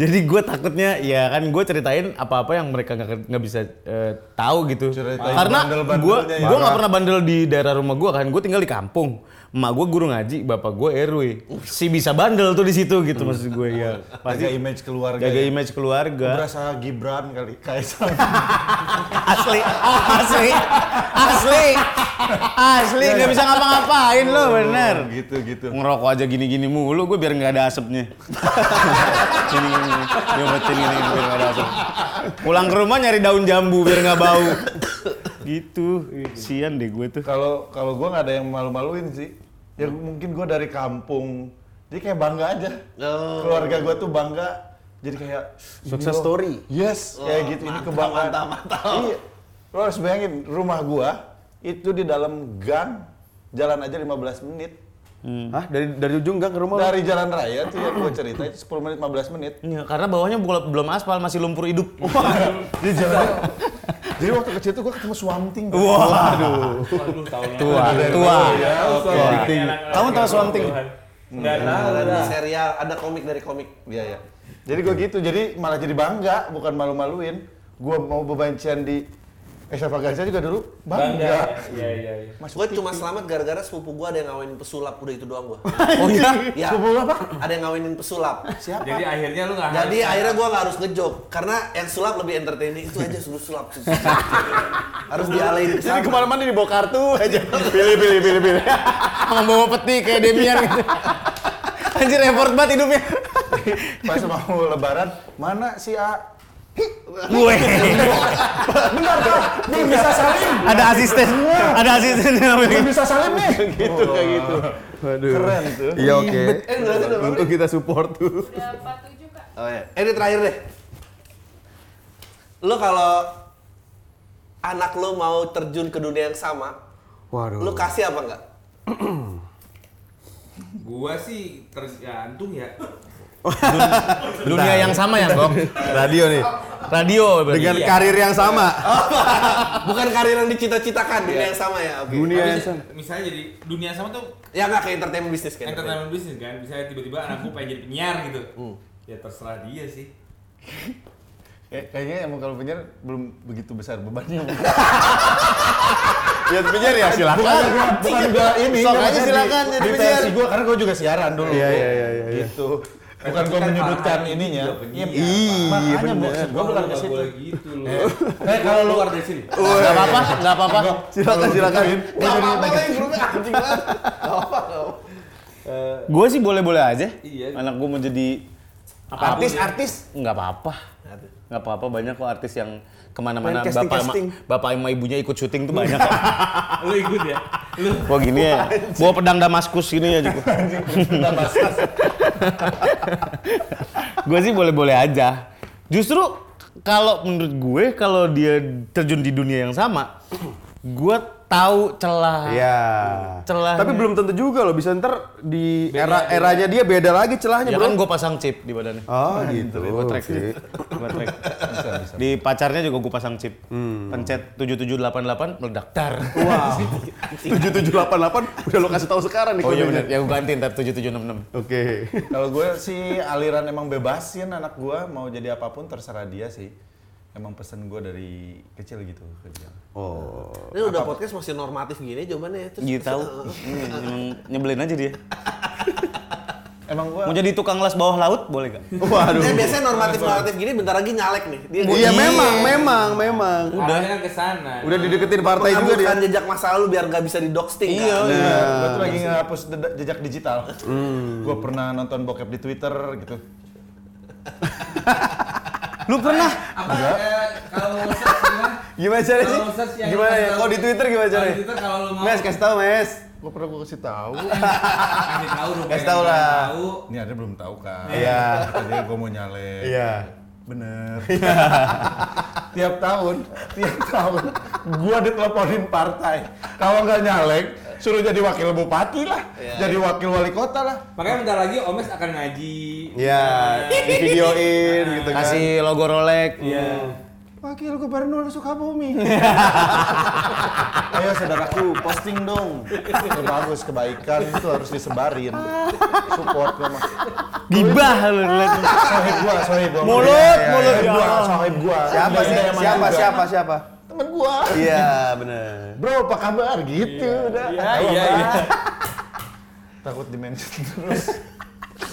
C: Jadi gue takutnya ya kan gue ceritain apa-apa yang mereka nggak nggak bisa eh, tahu gitu. Karena gue gue nggak pernah bandel di daerah rumah gue kan. Gue tinggal di kampung. Emak gue guru ngaji, bapak gue RW. Si bisa bandel tuh di situ gitu maksud gue ya. Pasti
E: Jaga image keluarga.
C: jaga
E: ya.
C: image keluarga.
E: Berasa Gibran (laughs) kali, Kaisang.
C: Asli, asli, asli, asli nggak bisa ngapa-ngapain lo bener.
E: gitu gitu.
C: Ngerokok aja gini-gini mulu, gue biar nggak ada (laughs) asapnya. gini gini, nyobatin gini, biar nggak ada asap. Pulang ke rumah nyari daun jambu biar nggak bau. gitu, sian deh gue tuh.
E: Kalau kalau gua nggak ada yang malu-maluin sih. Ya mungkin gua dari kampung. Jadi kayak bangga aja. Keluarga gua tuh bangga. Jadi kayak
F: Success
E: ini loh.
F: story.
E: Yes, kayak gitu ini kebanggaan. Mantap, Iya. Lo harus bayangin rumah gua itu di dalam gang jalan aja 15 menit.
F: Hmm. Hah? Dari dari ujung gang ke rumah?
E: Dari jalan raya tuh yang gua cerita itu 10 menit 15 menit.
C: Ya, karena bawahnya bul- belum aspal, masih lumpur hidup.
E: Jadi jalan. Jadi waktu kecil tuh gua ketemu swamping.
C: Waduh,
D: Waduh, tahunnya.
C: tua, tua.
D: Kamu tahu Swamting? Enggak tahu.
A: Ada serial, ada komik dari komik dia ya.
E: Jadi gue gitu, jadi malah jadi bangga, bukan malu-maluin. Gue mau bebancian di Extravaganza juga dulu,
D: Bangga. ya?
E: bangga.
D: Iya, iya, iya.
E: Mas
A: Gue cuma selamat gara-gara sepupu gue ada yang ngawinin pesulap, udah itu doang gue.
C: Oh iya?
A: Ya,
E: Sepupu lu apa?
A: ada yang ngawinin pesulap.
D: Jadi akhirnya lu nggak
A: Jadi akhirnya gue nggak harus ngejok karena yang sulap lebih entertaining itu aja suruh sulap. suruh sulap. harus dialahin ke
C: Jadi
A: sana.
C: kemana-mana dibawa kartu aja. Pilih, pilih, pilih, pilih. Sama bawa peti kayak Demian gitu. Anjir effort banget hidupnya.
E: Pas mau lebaran, mana si A?
C: Gue.
E: Benar tuh, nih bisa salim,
C: Ada asisten. Ada asisten yang
E: nih
C: namanya.
E: bisa salim nih.
F: Gitu, kayak gitu. Waduh.
E: Keren tuh.
F: Iya, oke.
A: Eh, berarti udah berapa
F: Untuk kita support tuh.
H: Dapat tujuh kak.
A: Oh iya. Eh, ini terakhir deh. Lo kalau anak lo mau terjun ke dunia yang sama,
F: Waduh.
A: lo kasih apa enggak?
D: Gua sih tergantung ya.
C: Dunia yang sama ya, Bok.
F: Radio nih.
C: Radio berarti. Iya.
F: Dengan karir yang sama.
A: Bukan karir yang dicita-citakan, dunia yang sama ya. Oke.
F: Dunia yang
D: Tapi
F: sama.
D: misalnya jadi dunia sama tuh
A: Ya nggak kayak entertainment bisnis kan.
D: entertainment bisnis kan. Misalnya tiba-tiba anakku pengen jadi penyiar gitu. Ya terserah dia sih.
E: Eh, Kayaknya emang kalau penyiar belum begitu besar bebannya.
F: (laughs) Ya penyiar ya silakan.
E: Bukan gua, bukan gua ini.
C: Sok
E: namanya
C: aja
E: di-
C: silakan jadi
E: Di
C: penyiar.
E: versi gue, karena gue juga siaran dulu.
F: Iya, iya, iya, iya, iya.
E: Gitu. Bukan gue
D: Kan
E: menyudutkan
D: Farhan
E: ininya.
D: juga penyiar,
F: Iya,
E: Makanya
F: bener.
E: maksud gue
D: Lu
E: bukan
D: nggak
E: ke situ.
D: boleh gitu loh.
E: Eh, kalau lu
D: Keluar dari sini.
C: Enggak apa-apa, enggak apa-apa.
F: Silakan, silakan.
A: Gak apa-apa lah, grupnya anjing banget. Nggak apa-apa, nggak apa-apa.
C: Gue sih boleh-boleh aja.
D: Iya.
C: Anak gue mau jadi
D: Apapun
C: artis,
D: ya.
C: artis nggak apa-apa. Nggak apa-apa banyak kok artis yang kemana-mana bapak
F: Main casting-casting.
C: ma- bapak sama ibunya ikut syuting tuh banyak. kok.
D: Lu ikut ya. Lu
C: Bawa gini ya, bawa pedang Damaskus gini ya (laughs) juga. (laughs) gue sih boleh-boleh aja. Justru kalau menurut gue kalau dia terjun di dunia yang sama, Gua tahu celah.
F: Iya.
C: Celahnya.
F: Tapi belum tentu juga loh bisa ntar di era
D: Beda,
F: eranya dia beda lagi celahnya,
C: Ya
F: Bro.
C: kan gue pasang chip di badannya.
F: Oh, gitu.
C: Gua track.
F: Oke.
C: Gua track. Di pacarnya juga gue pasang chip. Pencet 7788 meledak. Hmm. Tar. (laughs)
F: Wow. 7788 udah lo kasih tahu sekarang nih
C: Oh iya benar.
F: kodenya.
C: Ya gue ganti ntar 7766.
F: Oke.
E: Kalau gue sih aliran emang bebasin anak gue mau jadi apapun terserah dia sih. Emang pesen gue dari kecil gitu ke dia.
F: Oh.
A: Ini udah podcast masih normatif gini jawabannya ya. Terus,
F: Iya,
C: Gitu tahu. Hmm, emang nyebelin aja dia.
E: Emang gue
C: Mau jadi tukang las bawah laut boleh gak?
F: Waduh.
A: Eh, biasanya normatif-normatif gini bentar lagi nyalek nih. Dia
F: Iya memang, memang, memang.
D: Udah kan ke sana.
F: Udah dideketin partai juga dia.
A: menghapuskan jejak masa lalu biar nggak bisa didoxting
C: Iya,
A: kan.
F: Nah,
E: Iya, gue tuh lagi ngehapus deda- jejak digital.
F: Hmm.
E: Gue pernah nonton bokep di Twitter gitu.
C: Lu pernah?
D: Apa eh, kalau search gimana?
F: Gimana caranya sih?
D: Kalau search yang
F: Gimana ya?
D: kalau-
F: Kalau di Twitter gimana
D: Kalau
F: caranya?
D: di Twitter kalau lu mau
F: Mes, kasih tahu Mes.
E: Gue pernah gue kasih tahu.
D: kasih tahu Ruben.
F: Kasih tahu lah.
D: Tahu.
E: Ini ada belum tahu kan?
F: Iya.
E: Jadi gue mau nyalek.
F: Iya.
E: Bener. (laughs) tiap tahun, tiap tahun gue diteleponin partai. Kalau nggak nyalek, suruh jadi wakil bupati lah, jadi wakil wali kota lah.
D: Makanya bentar lagi Omes akan ngaji.
F: Iya, di videoin gitu kan.
C: Kasih logo Rolex.
D: Iya.
E: Wakil Gubernur Sukabumi. Ayo saudaraku, posting dong. Itu bagus, kebaikan itu harus (laughs) disebarin. Support gua mah.
C: Gibah lu. liat.
D: Ah.
E: Sohib gua, sohib gua.
C: Mulut,
E: Iya, iya,
C: mulut,
E: iya.
C: ya
E: gua,
C: Allah.
E: sohib gua.
F: Siapa
E: Nggak
F: sih?
E: ada yang mana
F: Siapa?
E: juga.
F: Siapa? Siapa?
E: Temen gua.
F: Iya, benar.
E: Bro, apa kabar? Gitu udah.
D: Iya, iya, iya.
E: Takut dimention terus.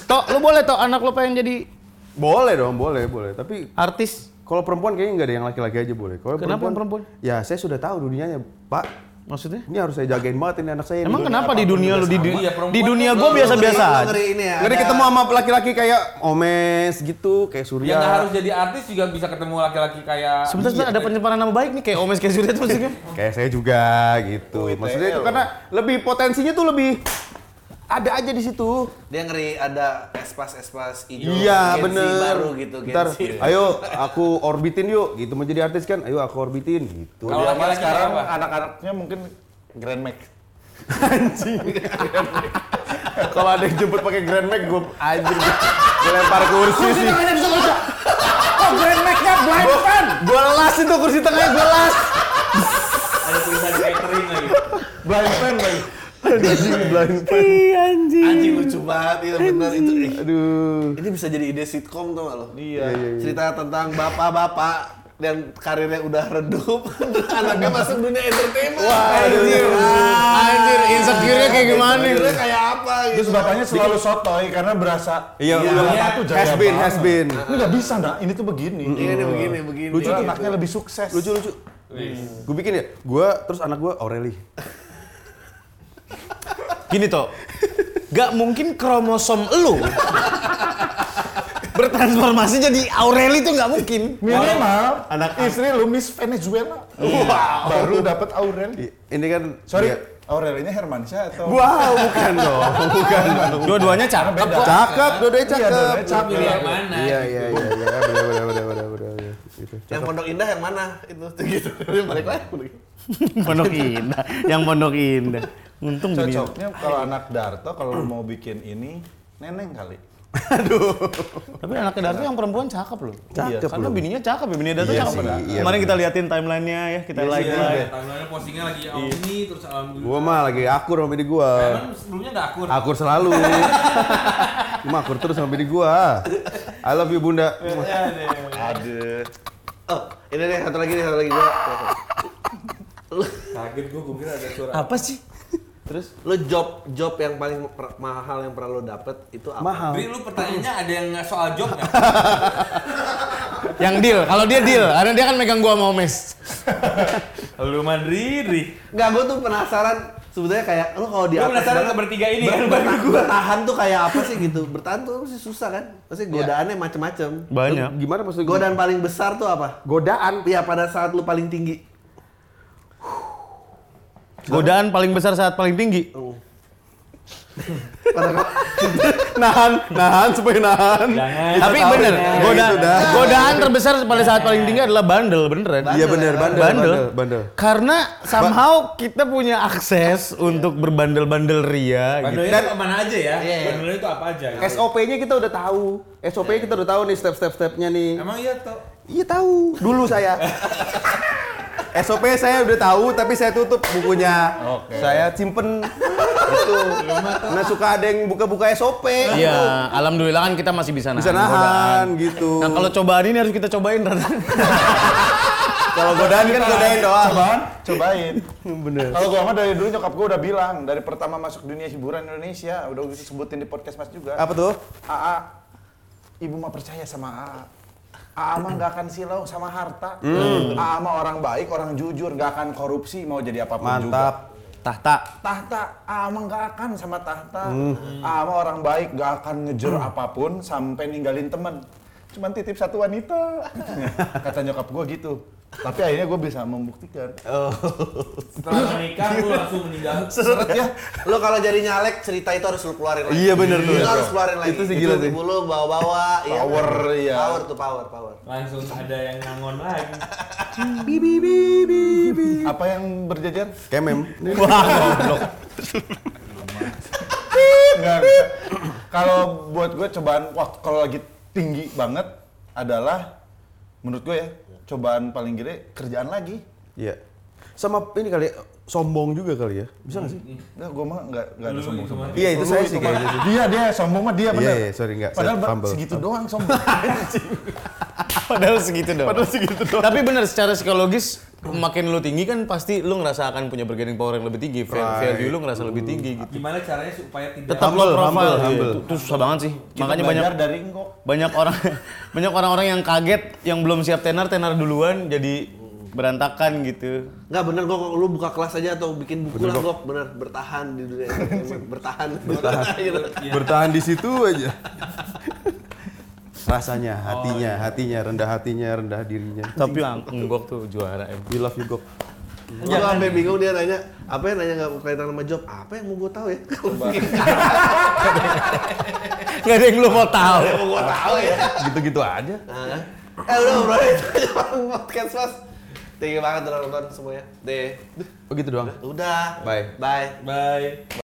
C: Tok, lu boleh tok anak lu pengen jadi
F: Boleh dong, boleh, boleh. Tapi
C: artis.
F: kalau perempuan kayaknya nggak ada yang laki-laki aja boleh. Kalau
C: Kenapa perempuan?
F: Ya, saya sudah tahu dunianya, Pak.
C: Maksudnya?
F: Ini harus saya jagain banget ini anak
D: Iya,
F: saya.
C: Emang
F: ini.
C: kenapa di dunia lu di,
D: sama.
C: di
D: Iya, perempuan
C: dunia
D: tuh
C: gua
D: lu-
C: biasa-biasa
A: Ngeri-
C: aja.
A: ngeri ini ya.
F: Ngeri
A: ada-
F: ketemu sama laki-laki kayak Omes gitu, kayak
D: Ya
F: Surya.
D: nggak harus jadi artis juga bisa ketemu laki-laki kayak
C: Sebentar, sebentar
D: Iya.
C: ada pencemaran nama baik nih kayak Omes kayak Surya tuh maksudnya.
F: Kayak saya juga
A: Oh,
F: gitu. Maksudnya
A: ya.
F: itu karena lebih potensinya tuh lebih ada aja di situ.
A: Dia ngeri ada espas-espas hijau. Gen
F: Iya
A: Z
F: bener.
A: baru gitu Gen
F: Ntar,
A: Z.
F: ayo aku orbitin yuk. Gitu mau jadi artis kan? Ayo aku orbitin gitu.
D: Kalau laki-laki
E: Sekarang
D: apa?
E: anak-anaknya mungkin Grand Max.
F: Kalau ada yang jemput pakai Grand Max, gue anjir gue, gue lempar kursi sih.
C: Grand Max-nya blind fan.
F: Gue las itu kursi tengahnya gue las.
D: ada tulisan catering lagi.
E: Blind fan lagi.
F: Blind fan.
A: Anjing lucu banget itu bener itu. Ih,
F: Aduh.
A: Ini bisa jadi ide sitkom tuh lo. Iya. Cerita tentang bapak-bapak dan karirnya udah redup, (laughs) anaknya masuk dunia entertainment. anjir.
C: Anjir, insecure-nya kayak gimana?
A: Akhirnya kayak apa gitu.
E: Terus bapaknya selalu sotoy karena berasa
F: Iya,
E: "Ih,
F: iya.
E: anak aku jaga
F: Has been,
E: banget."
F: has been.
E: Ini nggak bisa nak, ini tuh begini.
A: Iya, ini begini, begini.
E: Lucu anaknya lebih sukses.
F: Iya, gitu. Lucu lucu. Gue bikin ya. Gue terus anak gue Aureli.
C: Gini toh, gak mungkin kromosom lu bertransformasi jadi Aureli tuh gak mungkin.
E: Minimal istri lu Miss Venezuela. Baru dapat Aurel.
F: Ini kan.
E: Sorry,
F: dia-
E: Aurelnya Hermansyah atau
F: Wow, bukan dong, bukan dong.
C: Dua-duanya cakep. kok.
F: Cakep, dua-duanya
E: Iya,
F: cakep.
E: dua-duanya cakep.
D: Pilih yang mana?
F: Iya, iya, iya, iya, bener, bener, bener, bener, bener, bener. Gitu.
A: Yang Pondok Indah yang mana? Itu tuh gitu. (laughs) Dia balik lagi.
C: Pondok Indah, yang Pondok Indah. Untung dunia.
E: cocoknya kalau anak Darto kalau lu mau bikin ini neneng kali.
C: Tapi anaknya Darto yang perempuan cakep loh.
F: Cakep
C: Iya, Karena
F: loh.
C: bininya cakep ya, bininya Darto
F: Iya
C: cakep.
F: sih,
C: bener.
F: iya
C: Kemarin
F: bener.
C: kita liatin timelinenya ya, kita like like.
D: Timeline-nya Iya. postingnya lagi oh, ini terus
F: Gua
D: alhamdulillah.
F: mah lagi akur sama diri gua.
D: Emang sebelumnya nggak akur.
F: Akur selalu. Cuma akur terus sama diri gua. I love you bunda.
E: Ada.
A: Oh, ini deh satu lagi nih, satu lagi gua.
D: Kaget gua, gua kira ada suara.
C: Apa sih?
A: Lo job job yang paling per- mahal yang pernah lo dapet itu apa?
F: Mahal.
D: Bri, lu pertanyaannya ada yang soal job nggak?
C: Yang deal, kalau dia deal, karena dia kan megang gua mau mes.
D: Lu mandiri.
A: Enggak, gua tuh penasaran sebetulnya kayak lo kalau di
D: Lu
A: atas
D: penasaran
A: banget,
D: ke bertiga ini
A: ber-
D: kan?
A: berta- bertahan tuh kayak apa sih gitu? Bertahan tuh pasti susah kan? Pasti
F: Iya.
A: godaannya macem-macem.
C: Banyak.
F: Gimana maksudnya?
A: Godaan paling besar tuh apa?
F: Godaan.
A: Iya pada saat lu paling tinggi.
F: Oh.
C: Godaan paling besar saat paling tinggi. (laughs)
F: nahan, nahan supaya nahan.
D: Jangan.
C: Tapi
D: Tahu
C: bener,
D: nih.
C: godaan,
F: dah.
C: godaan terbesar pada saat paling tinggi adalah bandel, beneran.
F: Iya benar, bandel, bandel, bandel.
C: Karena somehow kita punya akses untuk berbandel-bandel ria gitu.
D: Bandelnya itu mana aja ya? Bandelnya itu apa aja? gitu.
F: SOP-nya kita udah tahu. SOP-nya kita udah tahu nih step-step-stepnya nih.
D: Emang iya tuh.
F: Iya tahu, dulu saya. SOP saya udah tahu tapi saya tutup bukunya. Saya simpen itu. Nah suka ada yang buka-buka SOP.
C: Iya, alhamdulillah kan kita masih bisa nahan.
F: Bisa
C: godaan.
F: nahan gitu.
C: Nah kalau cobaan ini harus kita cobain Ran.
F: Kalau godaan kan godain doang. (laughs)
E: Cobain. Bener. Kalau gua mah dari dulu nyokap gua udah bilang dari pertama masuk dunia hiburan Indonesia udah gua sebutin di podcast Mas juga.
F: Apa tuh?
E: AA ibu mah percaya sama AA. AA mah nggak akan silau sama harta. AA mah orang baik, orang jujur, nggak akan korupsi mau jadi apapun juga.
F: Mantap.
C: Tahta.
E: Tahta, AA mah nggak akan sama tahta. AA mah orang baik, nggak akan ngejer apapun sampai ninggalin temen. Cuman titip satu wanita. Kata nyokap gua gitu. Tapi akhirnya gua bisa membuktikan.
D: Setelah menikah lu langsung meninggal.
A: ya. Lo kalau jadi nyalek cerita itu harus lo keluarin lagi.
F: Iya, bener tuh.
A: Itu harus keluarin lagi.
F: Itu sih gila sih.
A: ibu lo bawa-bawa. iya.
E: Power, iya.
A: Power tuh power, power.
D: Langsung ada yang ngangon lagi.
E: Apa yang berjajar?
F: Kemem.
E: Nggak bisa. Kalau buat gue cobaan waktu kalau lagi tinggi banget adalah menurut gue ya cobaan paling gede kerjaan lagi.
F: Iya. Sama ini kali ya, sombong juga kali ya. Bisa nggak sih?
E: Nggak, gue mah nggak nggak ada sombong sombong.
F: Iya itu saya sih kayaknya sih.
E: Dia gitu. dia sombong mah dia
F: Iya,
E: benar.
F: iya, sorry, nggak, saya
E: Padahal ba-
F: fumble.
E: segitu doang sombong.
C: Padahal segitu dong. Padahal segitu dong. Tapi bener secara psikologis makin lu tinggi kan pasti lu ngerasa akan punya bargaining power yang lebih tinggi. Val- Value lu ngerasa lebih tinggi gitu.
D: Gimana caranya supaya tidak
C: Tetap
F: Humble,
C: lo profile.
F: humble,
C: Iya,
F: humble.
C: Itu, itu susah banget sih. Makanya banyak
E: Belajar dari engkau.
C: banyak orang (laughs) banyak orang-orang yang kaget yang belum siap tenar tenar duluan jadi berantakan gitu.
A: Enggak bener gok, lu buka kelas aja atau bikin buku lah gok. Bener, bertahan di dunia
F: (laughs)
A: entertainment. bertahan. bertahan. (laughs) gitu.
F: Bertahan di situ aja. Rasanya, hatinya, hatinya, rendah hatinya, rendah dirinya.
C: Tapi enggok tuh juara em.
F: We love you, Gok.
A: Gue sampai bingung dia nanya, apa yang nanya nggak berkaitan sama job? Apa yang mau gue tahu ya?
C: Gak ada yang lu mau tahu.
A: Mau gue tahu ya?
F: Gitu-gitu aja.
A: Nah. Eh udah bro, (laughs) itu aja Bang, podcast mas. Thank you banget udah nonton semuanya. Deh,
F: Oh gitu doang.
A: udah.
F: Bye.
A: Bye.
D: Bye.